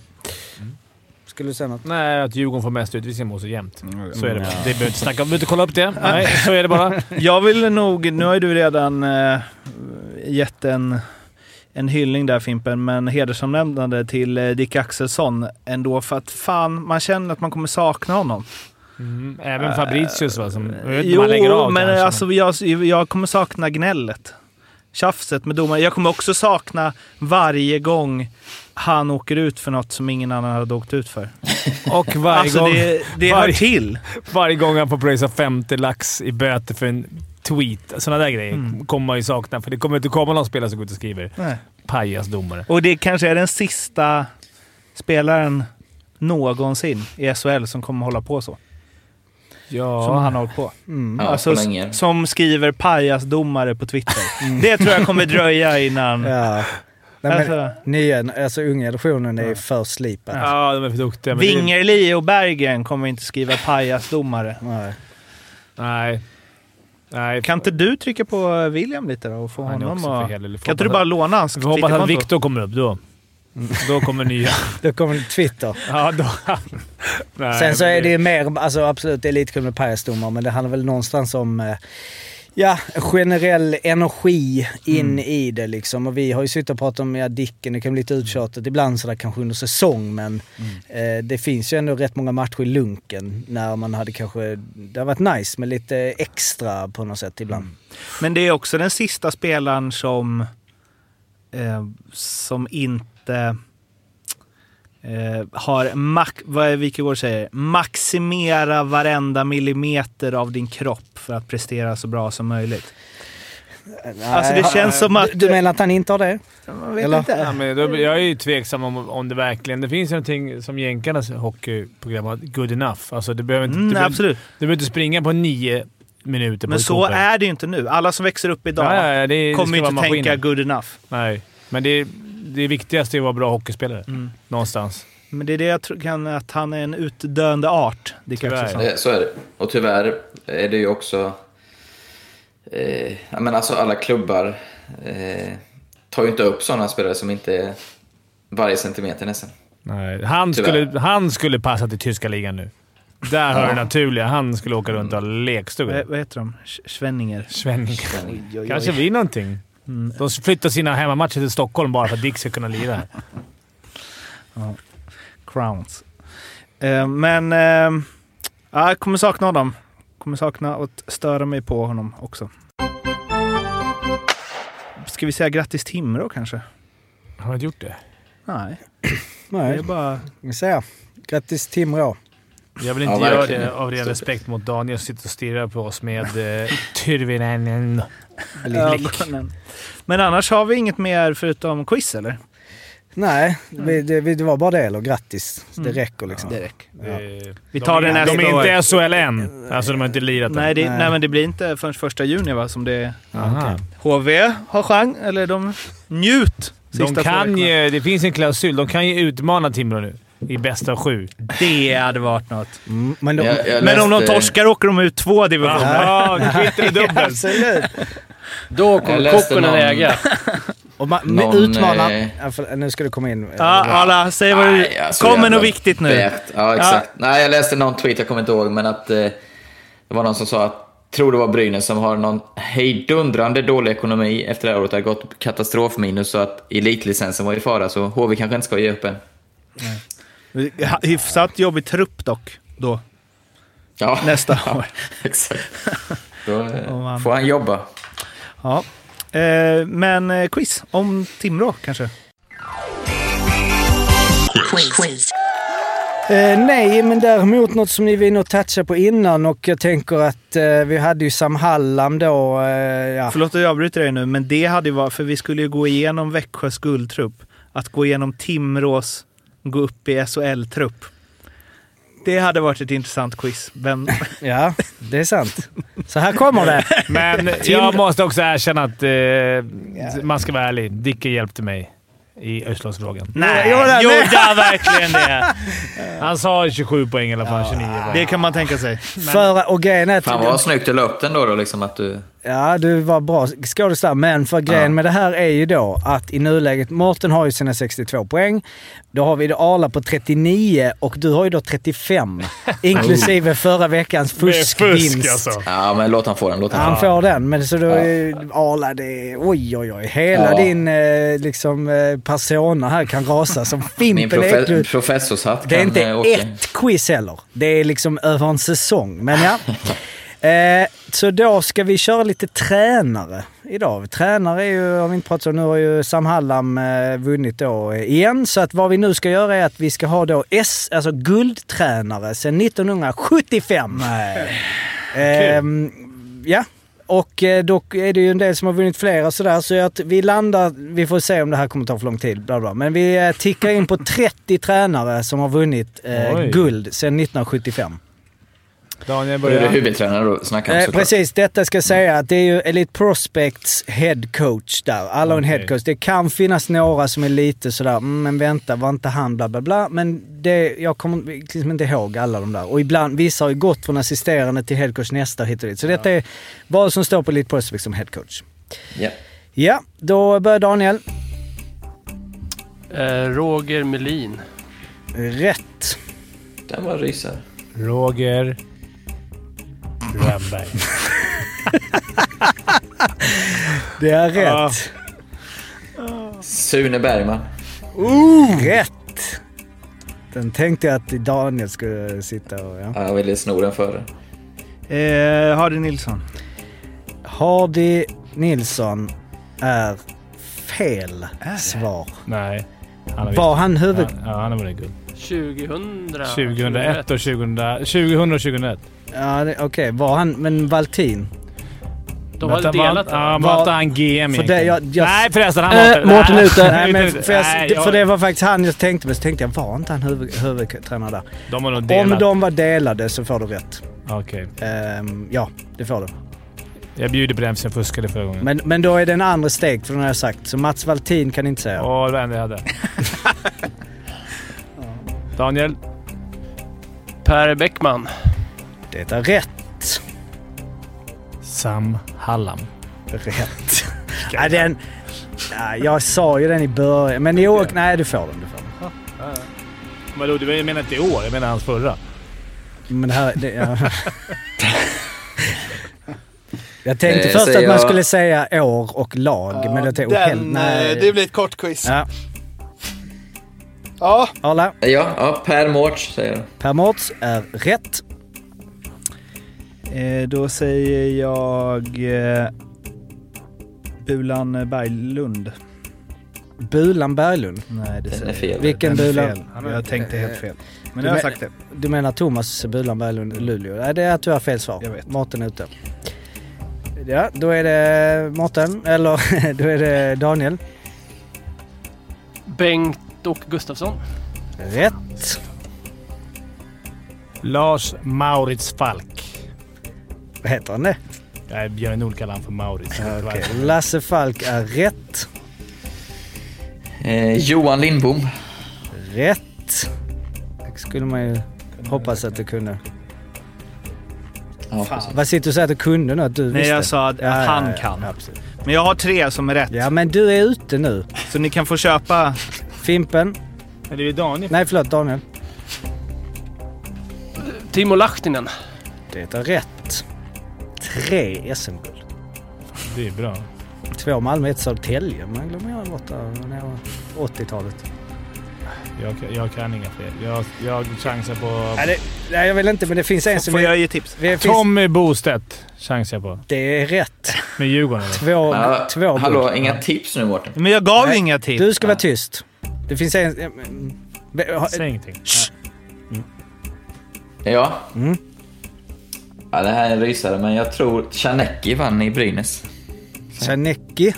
Speaker 2: Skulle du säga något?
Speaker 7: Nej, att Djurgården får mest utvisningar mot sig jämt.
Speaker 11: Mm.
Speaker 7: Så är det bara.
Speaker 3: Mm. Ja.
Speaker 7: Det behöver inte snacka om. Vi behöver inte kolla upp det. Nej, så är det bara.
Speaker 11: Mm.
Speaker 3: Jag vill nog, nu har ju du redan eh, gett en, en hyllning där Fimpen, men hedersomnämnande till eh, Dick Axelsson ändå för att fan, man känner att man kommer sakna honom.
Speaker 7: Mm, även Fabricius va? Som, jag vet inte om han lägger
Speaker 3: Jo,
Speaker 7: av
Speaker 3: men
Speaker 7: kanske.
Speaker 3: alltså, jag, jag kommer sakna gnället. Tjafset med domaren. Jag kommer också sakna varje gång han åker ut för något som ingen annan hade åkt ut för.
Speaker 7: Och varje
Speaker 3: alltså,
Speaker 7: gång...
Speaker 3: det, det hör till.
Speaker 7: Varje gång han får pröjsa 50 lax i böter för en tweet. Sådana där grejer kommer man ju sakna, för det kommer inte komma någon spelare som går ut och skriver
Speaker 3: Mm. Nej.
Speaker 7: pajasdomare.
Speaker 3: Och det kanske är den sista spelaren någonsin i SHL som kommer hålla på så.
Speaker 7: Ja.
Speaker 3: Som han har hållit på.
Speaker 2: Mm.
Speaker 8: Ja,
Speaker 3: alltså,
Speaker 8: så länge.
Speaker 3: som skriver pajasdomare på Twitter. Det tror jag kommer dröja innan...
Speaker 2: Ja. Nej, men,
Speaker 3: Alltså.
Speaker 2: nya, alltså unga generationen är för slipad.
Speaker 7: Ja, de är för duktiga. men det-
Speaker 3: Vingerli och Bergen kommer inte skriva pajasdomare.
Speaker 2: Nej.
Speaker 7: Nej. Nej.
Speaker 3: Kan inte du trycka på eh, William lite då och få
Speaker 7: Han är
Speaker 3: honom
Speaker 7: också för helig. Vi
Speaker 3: att...
Speaker 7: får
Speaker 3: Kan inte du
Speaker 7: hoppas-
Speaker 3: bara låna hans
Speaker 7: Vi får hoppas att
Speaker 3: Twitterkonto?
Speaker 7: Viktor kommer upp då.
Speaker 3: Mm.
Speaker 7: Då kommer nya.
Speaker 2: Då kommer Twitter.
Speaker 7: Ja, då. Nej,
Speaker 2: Sen så
Speaker 7: men
Speaker 2: är det ju mer, alltså absolut det är lite kul med pajasdomar, men det handlar väl någonstans om eh, Ja, generell energi in
Speaker 3: Mm.
Speaker 2: i det liksom. Och vi har ju suttit och pratat om ja, Dicken, det kan bli lite
Speaker 3: Mm.
Speaker 2: uttjatat ibland sådär kanske under säsong men eh, det finns ju ändå rätt många matcher i lunken när man hade kanske, det har varit nice med lite extra på något sätt ibland.
Speaker 3: Mm. Men det är också den sista spelaren som, eh, som inte eh, har, mak- vad är Wikegård säger, maximera varenda millimeter av din kropp för att prestera så bra som möjligt. Alltså, det
Speaker 2: Nej,
Speaker 3: känns som att-
Speaker 2: Du, du menar att han inte har det?
Speaker 3: Man vet
Speaker 2: Eller?
Speaker 3: inte.
Speaker 7: Ja, men då, jag är ju tveksam om, om det verkligen... Det finns ju någonting som jänkarnas hockeyprogram har, good enough. Alltså, du, behöver inte, du,
Speaker 3: Mm,
Speaker 7: behöver,
Speaker 3: absolut.
Speaker 7: du behöver inte springa på nio minuter på
Speaker 3: Men
Speaker 7: ett
Speaker 3: så
Speaker 7: coolt lag.
Speaker 3: är det ju inte nu. Alla som växer upp idag
Speaker 7: Ja, ja, ja, det, det
Speaker 3: kommer
Speaker 7: ska
Speaker 3: ju inte
Speaker 7: vara maskiner.
Speaker 3: tänka good enough.
Speaker 7: Nej, men det, det viktigaste är att vara bra hockeyspelare.
Speaker 3: Mm.
Speaker 7: Någonstans.
Speaker 3: Men det är det jag tror, kan, att han är en utdöende art, Dick
Speaker 7: Tyvärr.
Speaker 3: Axelsson.
Speaker 8: Det, Eh, så är det. Och tyvärr är det ju också... Eh, ja, men alltså alla klubbar eh, tar ju inte upp sådana spelare som inte är varje centimeter nästan.
Speaker 7: Nej, han,
Speaker 8: Tyvärr.
Speaker 7: skulle, han skulle passa till tyska ligan nu. Där hör det naturliga. Han skulle åka runt och ha lekstuga.
Speaker 3: Vad, vad heter de? Sch- Schwenninger.
Speaker 7: Svenning.
Speaker 3: Mm. Eh, Oj, oj, Mm. oj.
Speaker 7: Kanske blir någonting. De flyttar sina hemmamatcher till Stockholm bara för att Dick ska kunna lira här.
Speaker 3: Crowns. Eh, men eh, ja, jag kommer sakna honom. Kommer sakna att störa mig på honom också. Ska vi säga grattis Timrå kanske?
Speaker 7: Har han inte gjort det?
Speaker 3: Nej, det
Speaker 2: Nej,
Speaker 3: är bara...
Speaker 2: vi ser. Grattis Timrå.
Speaker 7: Jag vill inte
Speaker 8: Ja,
Speaker 7: göra
Speaker 8: verkligen.
Speaker 7: det av ren respekt mot Daniel som sitter och stirrar på oss med eh, Tyrvinen.
Speaker 3: Ögonen. Men annars har vi inget mer förutom quiz eller?
Speaker 2: Nej, vi, det, vi, det var bara det. Eller grattis. Det räcker liksom.
Speaker 3: Det räcker.
Speaker 2: Ja.
Speaker 3: Vi tar
Speaker 7: de,
Speaker 3: det
Speaker 7: är-
Speaker 3: nästa
Speaker 7: De är
Speaker 3: år.
Speaker 7: inte SHL än. Alltså, de har inte lirat än.
Speaker 3: Nej, det,
Speaker 2: Nej.
Speaker 3: nej. men det blir inte förrän första juni va, som det är.
Speaker 7: Aha.
Speaker 3: HV har chans, eller de... Njut!
Speaker 7: De
Speaker 3: två
Speaker 7: kan
Speaker 3: veckorna.
Speaker 7: ju, det finns en klausul. De kan ju utmana Timrå nu i bästa av sju.
Speaker 3: Det hade varit något.
Speaker 2: Mm, men de,
Speaker 8: Jag- jag
Speaker 3: Men om de
Speaker 8: läste-
Speaker 3: torskar åker de ut två divisioner.
Speaker 7: Ja, kvitter dubbelt.
Speaker 2: Absolut.
Speaker 9: Då
Speaker 8: Jag
Speaker 9: kommer
Speaker 8: läste
Speaker 9: Kokkonen
Speaker 8: någon-
Speaker 9: äga.
Speaker 2: Och man,
Speaker 8: Någon,
Speaker 2: utmanar...
Speaker 8: eh,
Speaker 2: Ja, för- nu ska du komma in.
Speaker 10: Ja,
Speaker 3: Ah,
Speaker 10: alla, säg vad du...
Speaker 8: Nej, alltså,
Speaker 10: Kom med
Speaker 8: jävla
Speaker 10: något viktigt nu.
Speaker 8: fett. Ja, exakt. Nej, jag läste någon tweet, jag kommer inte ihåg, men att eh, det var någon som sa att tror det var Brynäs som har någon hejdundrande dålig ekonomi efter det här året. Det har gått katastrofminus så att elitlicensen var i fara, så HV kanske inte ska ge upp än.
Speaker 10: Ja. Hyfsat jobbig trupp dock, då.
Speaker 8: Ja,
Speaker 10: Nästa år.
Speaker 8: exakt. Då eh,
Speaker 10: Om man-
Speaker 8: får han jobba.
Speaker 10: Ja. Eh, men eh, quiz om Timrå kanske?
Speaker 2: Eh, nej, men däremot något som ni var inne och touchade på innan och jag tänker att eh, vi hade ju Sam Hallam då. Eh, ja.
Speaker 10: Förlåt att jag avbryter dig nu, men det hade ju varit... För vi skulle ju gå igenom Växjös guldtrupp. Att gå igenom Timrås gå upp i SHL-trupp. Det hade varit ett intressant quiz. Vem,
Speaker 2: ja, det är sant. Så här kommer det.
Speaker 7: Men jag måste också erkänna att eh, man ska vara ärlig. Dicke hjälpte mig i Östlandsfrågan.
Speaker 10: Nej,
Speaker 7: Gjorde han verkligen det? Han sa 27 poäng i alla fall. 29 poäng.
Speaker 10: det kan man tänka sig.
Speaker 2: För, och grejen är att-
Speaker 8: Fan vad snyggt du la upp den då, då liksom att du...
Speaker 2: Ja, du var bra skådespelare, men för grejen
Speaker 8: Ja.
Speaker 2: med det här är ju då att i nuläget, Mårten har ju sina 62 poäng. Då har vi då Arla på 39 och du har ju då 35. inklusive förra veckans
Speaker 7: Oh. Det är
Speaker 2: fuskvinst.
Speaker 7: fusk alltså.
Speaker 8: Ja, men låt han få den. Låt han
Speaker 2: Han
Speaker 8: få den.
Speaker 2: får den, men så då är Arla det... är- Oj, oj, oj. Hela
Speaker 8: Ja.
Speaker 2: din eh, liksom, eh, persona här kan rasa som
Speaker 8: Min
Speaker 2: Fimpen
Speaker 8: profe-
Speaker 2: Eklund.
Speaker 8: professorshatt kan
Speaker 2: Det är inte
Speaker 8: eh, åka.
Speaker 2: ett quiz heller. Det är liksom över en säsong. Men ja. Eh, så då ska vi köra lite tränare idag. Tränare är ju, har vi inte pratat om, nu har ju Sam Hallam eh, vunnit då eh, igen. Så att vad vi nu ska göra är att vi ska ha då S, alltså guldtränare sedan 1975. Ehm, ja. Och eh, dock är det ju en del som har vunnit flera och sådär. Så att vi landar, vi får se om det här kommer ta för lång tid. Bla bla. Men vi eh, tickar in på 30 tränare som har vunnit eh,
Speaker 7: Oj.
Speaker 2: guld sedan 1975.
Speaker 7: Daniel
Speaker 8: Nu är det
Speaker 7: börjar.
Speaker 8: huvudtränare då, snackar om
Speaker 2: Eh,
Speaker 8: såklart.
Speaker 2: precis, detta ska jag säga att det är ju Elite Prospects head coach där. Alla har en
Speaker 7: Okej.
Speaker 2: head coach. Det kan finnas några som är lite sådär, "Mm, men vänta, var inte han bla bla bla. Men det, jag kommer liksom inte ihåg alla de där. Och ibland, vissa har ju gått från assisterande till head coach nästa hit och dit. Så detta är vad som står på Elite Prospects som head coach.
Speaker 8: Ja.
Speaker 2: Ja, då börjar Daniel.
Speaker 9: Eh, Roger Melin.
Speaker 2: Rätt.
Speaker 8: Den var rysare.
Speaker 7: Roger Rönnberg.
Speaker 2: Det är rätt.
Speaker 8: Sune Bergman.
Speaker 2: Rätt! Den tänkte jag att Daniel skulle sitta och... Ja.
Speaker 8: Ja, jag ville sno den före.
Speaker 10: Eh, Hardy Nilsson.
Speaker 2: Hardy Nilsson är fel svar.
Speaker 7: Nej. Han har visst-
Speaker 2: Var han huvud...
Speaker 7: han- Ja, han har vunnit guld.
Speaker 9: 2000...
Speaker 7: 2001 och 2000, 2000 och 2001.
Speaker 2: Ja, det- Okej, var han... Men Valtin?
Speaker 9: De hade
Speaker 7: Vänta,
Speaker 9: delat
Speaker 7: var- Ja,
Speaker 9: det.
Speaker 7: var
Speaker 2: Var-
Speaker 7: inte han GM
Speaker 2: För
Speaker 7: egentligen?
Speaker 2: det- jag- jag-
Speaker 7: Nej förresten, han var
Speaker 2: Äh,
Speaker 7: inte...
Speaker 2: Mårten
Speaker 7: Nej,
Speaker 2: ute.
Speaker 7: nej,
Speaker 2: Nej, men för, jag,
Speaker 7: nej,
Speaker 2: för
Speaker 7: jag-
Speaker 2: det var faktiskt han jag tänkte, men så tänkte jag, var inte han huvud, huvudtränare där?
Speaker 7: De har nog
Speaker 2: Om
Speaker 7: delat.
Speaker 2: de var delade så får du rätt.
Speaker 7: Okej.
Speaker 2: Ehm, ja, det får du.
Speaker 7: Jag bjuder på den sen jag fuskade förra gången.
Speaker 2: Men, men då är det en andra steg från det jag har sagt, så Mats Valtin kan inte säga.
Speaker 7: Åh, det var en jag hade. Daniel.
Speaker 9: Per Bäckman.
Speaker 2: Det är rätt.
Speaker 7: Sam Hallam.
Speaker 2: Rätt. ja, den, ja, jag sa ju den i början, men jo, och- nej du får den. Du får den.
Speaker 7: Vadå, du menar inte i år? Jag menar hans förra.
Speaker 2: Men det här, det, ja. Jag tänkte
Speaker 8: Eh,
Speaker 2: först
Speaker 8: säger
Speaker 2: att man
Speaker 8: jag-
Speaker 2: skulle säga år och lag, men jag tänkte oh, hel-
Speaker 7: eh,
Speaker 2: nej.
Speaker 6: det blir ett kort quiz.
Speaker 2: Ja.
Speaker 6: Ja.
Speaker 2: Arla,
Speaker 8: Eh, Ja, ja Per Mårts säger jag.
Speaker 2: Per Mårts är rätt.
Speaker 10: Eh, då säger jag eh, Bulan Berglund.
Speaker 2: Bulan Berglund.
Speaker 10: Nej, det
Speaker 8: Den är
Speaker 10: säger
Speaker 8: fel.
Speaker 2: Vilken
Speaker 10: Den är
Speaker 2: Bulan?
Speaker 10: fel. Jag tänkte helt fel. Men jag har
Speaker 2: men-
Speaker 10: sagt det.
Speaker 2: Du menar Thomas Bulan Berglund Luleå? Nej, det är att du har fel svar.
Speaker 10: Jag vet.
Speaker 2: Mårten är ute. Ja, då är det Mårten, eller då är det Daniel.
Speaker 9: Bengt och Gustafsson.
Speaker 2: Rätt.
Speaker 7: Lars Maurits Falk.
Speaker 2: Vad heter han det?
Speaker 7: Nej, Björn Nord kallar han för Maurits. Jag vet inte
Speaker 2: Okej.
Speaker 7: varför.
Speaker 2: Lasse Falk är rätt.
Speaker 8: Eh, Johan Lindbom.
Speaker 2: Rätt. Det skulle man ju hoppas att du kunde.
Speaker 8: Ja, precis.
Speaker 2: Vad sitter du och säger att du kunde nu? Att du
Speaker 10: Nej,
Speaker 2: visste?
Speaker 10: jag sa att,
Speaker 2: Ja, ja,
Speaker 10: att han
Speaker 2: ja,
Speaker 10: kan.
Speaker 2: ja, absolut.
Speaker 10: Men jag har tre som är rätt.
Speaker 2: Ja, men du är ute nu.
Speaker 10: Så ni kan få köpa...
Speaker 2: Fimpen.
Speaker 7: Eller är det Daniel?
Speaker 2: Nej, förlåt. Daniel.
Speaker 9: Timo Lahtinen.
Speaker 2: Det är rätt. Tre SM-guld.
Speaker 7: Det är bra.
Speaker 2: Två Malmö, ett Södertälje. Man glömmer jag bort där när 80-talet.
Speaker 7: Jag, jag kan inga fler. Jag, jag chansar på...
Speaker 2: Nej, det, nej, jag vill inte, men det finns en som...
Speaker 10: Får
Speaker 2: är-
Speaker 10: jag ge tips?
Speaker 2: det finns-
Speaker 7: Tommy Bostedt chansar jag på.
Speaker 2: Det är rätt.
Speaker 7: Med Djurgården. eller?
Speaker 2: Två,
Speaker 8: Ja,
Speaker 2: två Mm. guld.
Speaker 8: hallå, inga tips nu Mårten.
Speaker 10: Men jag gav
Speaker 2: Nej.
Speaker 10: ju inga tips.
Speaker 2: Du ska vara tyst. Det finns en... mm, be- ha-
Speaker 7: Säg ingenting.
Speaker 8: Ja.
Speaker 2: Mm.
Speaker 8: ja. Det här är en rysare, men jag tror Chanecki vann i Brynäs.
Speaker 2: Chanecki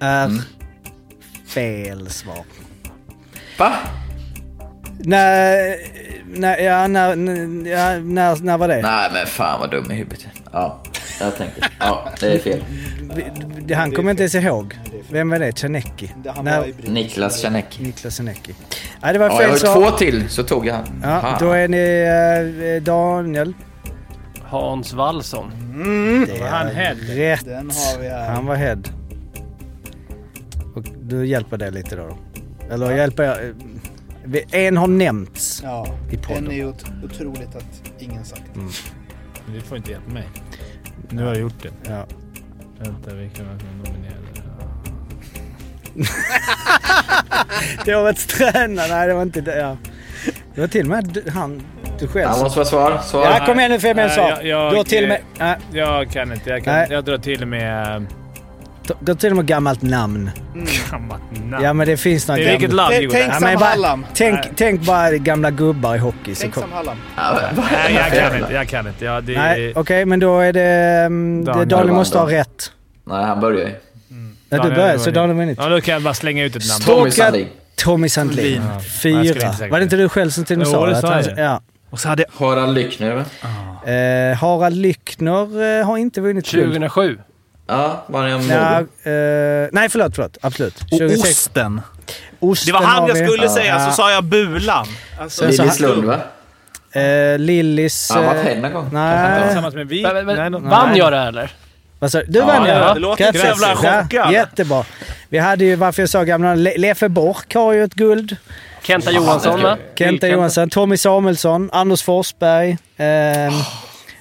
Speaker 2: är
Speaker 8: Mm.
Speaker 2: fel svar.
Speaker 8: Va?
Speaker 2: När, när, ja, när, när- ja, när, när var det?
Speaker 8: Nej, men fan vad dum i huvudet. Ja, jag tänkte. Ja, det är fel.
Speaker 2: Vi- det- Han kommer inte ens ihåg. Vem var det? Chanecki? När,
Speaker 8: Niklas Chanecki.
Speaker 2: Niklas Chanecki. Nej, det var
Speaker 8: Ja, jag
Speaker 2: fel
Speaker 8: har
Speaker 2: svar.
Speaker 8: två till, så tog jag han.
Speaker 2: Ja,
Speaker 8: Fan.
Speaker 2: då är ni eh, Daniel.
Speaker 9: Hans Wallson.
Speaker 2: Det
Speaker 7: var han
Speaker 2: är
Speaker 7: head.
Speaker 2: Rätt.
Speaker 10: Den har vi här.
Speaker 2: Han var head. Och du hjälper det lite då? Eller hjälper jag? Vi- En har nämnts.
Speaker 12: Ja,
Speaker 2: I podden.
Speaker 12: den är ju ot- otroligt att ingen sagt.
Speaker 7: Men Du får inte hjälpa mig. Nu har jag gjort det.
Speaker 2: Ja.
Speaker 7: Vänta, vilka var det som nominerade?
Speaker 2: Det var ett träna. Nej, det var inte det. Ja. Det var till och med du- han, du själv.
Speaker 8: Han måste vara svar. svar.
Speaker 2: Ja, kom igen nu fem en
Speaker 7: Nej,
Speaker 2: svar.
Speaker 7: jag- jag-
Speaker 2: Du har till och med... Ja,
Speaker 7: Jag kan inte. Jag,
Speaker 2: Nej.
Speaker 7: kan, jag drar till med
Speaker 2: du har till och med gammalt namn.
Speaker 7: gammalt namn.
Speaker 2: Ja, men det finns några
Speaker 7: I vilket
Speaker 2: gamla...
Speaker 7: land?
Speaker 12: Tänk-
Speaker 7: Djurgården?
Speaker 12: tänk
Speaker 7: Ja,
Speaker 12: som
Speaker 7: men
Speaker 2: bara-
Speaker 12: Hallam.
Speaker 2: Tänk, tänk bara gamla gubbar i hockey. Så
Speaker 12: Tänk
Speaker 2: kom...
Speaker 5: Liksom
Speaker 12: som Hallam.
Speaker 7: Nej, jag kan inte. Jag kan inte. Ja, det,
Speaker 2: Nej, okej, men då är det... mm, det-
Speaker 7: Daniel
Speaker 2: Daniel måste ha
Speaker 8: Wander.
Speaker 2: rätt.
Speaker 8: Nej, han börjar ju.
Speaker 2: Ja, du
Speaker 7: Daniel
Speaker 2: börjar,
Speaker 7: har
Speaker 2: så
Speaker 7: vunnit.
Speaker 2: Daniel vinner.
Speaker 7: Ja, då kan jag bara slänga ut ett namn.
Speaker 8: Tommy
Speaker 2: Tråkigt.
Speaker 8: Sandin.
Speaker 2: Tommy Sandlin.
Speaker 7: Ja.
Speaker 2: Fyra.
Speaker 7: Jag skulle inte säga
Speaker 2: var det inte du själv som till och med
Speaker 7: Jo,
Speaker 2: sa
Speaker 7: det
Speaker 2: att
Speaker 7: sa
Speaker 2: han-
Speaker 7: jag.
Speaker 2: Ja.
Speaker 10: Och så hade jag...
Speaker 8: Harald Lyckner, va?
Speaker 2: Eh, Harald Lyckner eh, har inte vunnit guld.
Speaker 9: 2007.
Speaker 8: Ja, var jag
Speaker 2: Ja,
Speaker 8: modig?
Speaker 2: eh, nej, förlåt, förlåt. Absolut.
Speaker 10: Och
Speaker 2: 26.
Speaker 10: osten.
Speaker 2: Osten
Speaker 10: Det var
Speaker 2: har
Speaker 10: han jag
Speaker 2: vi.
Speaker 10: skulle
Speaker 2: Ja.
Speaker 10: säga, så sa jag bulan.
Speaker 2: Sen så-
Speaker 8: Lillis Lund, va?
Speaker 2: Eh, Lillis...
Speaker 8: Han var
Speaker 2: eh,
Speaker 8: själv någon gång.
Speaker 2: Nej.
Speaker 7: Tillsammans med vi.
Speaker 9: Men, men,
Speaker 7: Nej,
Speaker 9: men,
Speaker 7: no-
Speaker 9: vann jag det här eller?
Speaker 2: Vad sa du? Du vann
Speaker 7: det
Speaker 2: ja.
Speaker 7: låter inte
Speaker 2: Grattis.
Speaker 7: jävla chockad.
Speaker 2: Jättebra. Vi hade ju, varför jag sa gamla Le- Leffe Bork har ju ett guld.
Speaker 9: Kenta Johansson va?
Speaker 2: Kenta Johansson, Tommy Samuelsson, Anders Forsberg. Eh,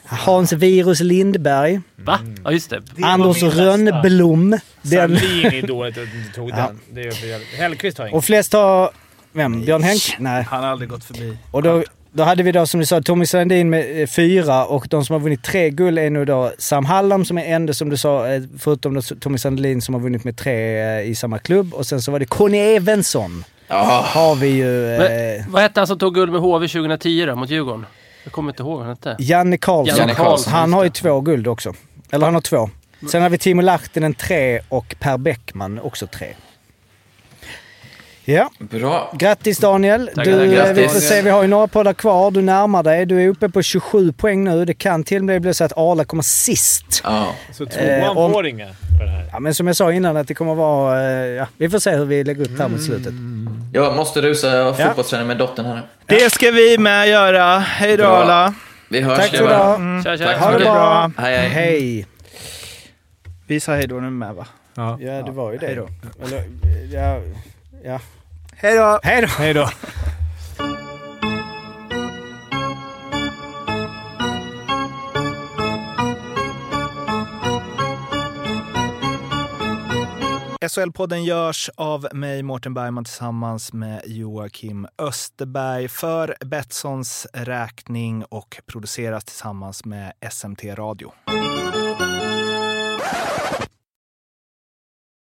Speaker 2: Hans Virus Lindberg.
Speaker 9: Va? Ja just det.
Speaker 2: Anders Rönnblom. Den.
Speaker 7: Sandlin är dåligt att du inte tog den. Det är för jävligt. Hellqvist har ingen.
Speaker 2: Och flest har... Vem? Björn Henk? Nej.
Speaker 10: Han har aldrig gått förbi.
Speaker 2: Och då, då hade vi då som du sa Tommy Sandin med eh, fyra och de som har vunnit tre guld är nu då Sam Hallam som är enda som du sa, eh, förutom då Tommy Sandin som har vunnit med tre eh, i samma klubb. Och sen så var det Conny Evensson.
Speaker 8: Ja,
Speaker 2: Har vi ju eh,
Speaker 9: Men, vad hette han som tog guld med HV 2010 då, mot Djurgården? Jag kommer inte ihåg vad han hette.
Speaker 2: Janne Karlsson.
Speaker 8: Janne Karlsson,
Speaker 2: Han
Speaker 9: just
Speaker 2: har ju två guld också. Eller han har två. Sen har vi Timo Lahtinen tre och Per Bäckman också tre. Ja.
Speaker 8: bra.
Speaker 2: Grattis Daniel!
Speaker 9: Tackar,
Speaker 2: du,
Speaker 9: tackar.
Speaker 2: eh, Vi får
Speaker 8: Grattis.
Speaker 2: se, vi har ju några poddar kvar. Du närmar dig. Du är uppe på 27 poäng nu. Det kan till och med bli så att Arla kommer sist.
Speaker 8: Ja.
Speaker 7: Så
Speaker 2: Eh,
Speaker 7: tvåan
Speaker 2: om-
Speaker 7: får inga för det här.
Speaker 2: Ja, men som jag sa innan att det kommer vara... eh, Ja, vi får se hur vi lägger upp det här mot slutet.
Speaker 8: Jag måste rusa jag har fotbollsträning med dottern här nu.
Speaker 10: Det ska vi med göra. Hej då
Speaker 8: Bra.
Speaker 10: alla.
Speaker 8: Vi hörs
Speaker 2: Tack för
Speaker 8: grabbar.
Speaker 2: idag!
Speaker 9: Tja, tja.
Speaker 8: Tack så
Speaker 2: Ha det
Speaker 8: mycket.
Speaker 2: Mm. bra!
Speaker 8: Hej, hej.
Speaker 2: Hej!
Speaker 10: Vi sa hej då nu med va?
Speaker 2: Ja, det var ju det.
Speaker 10: Hej då.
Speaker 2: Eller, ja, ja.
Speaker 10: Hej då!
Speaker 2: Hej då!
Speaker 7: Hej då.
Speaker 10: SHL-podden görs av mig, Mårten Bergman, tillsammans med Joakim Österberg för Betssons räkning och produceras tillsammans med SMT Radio.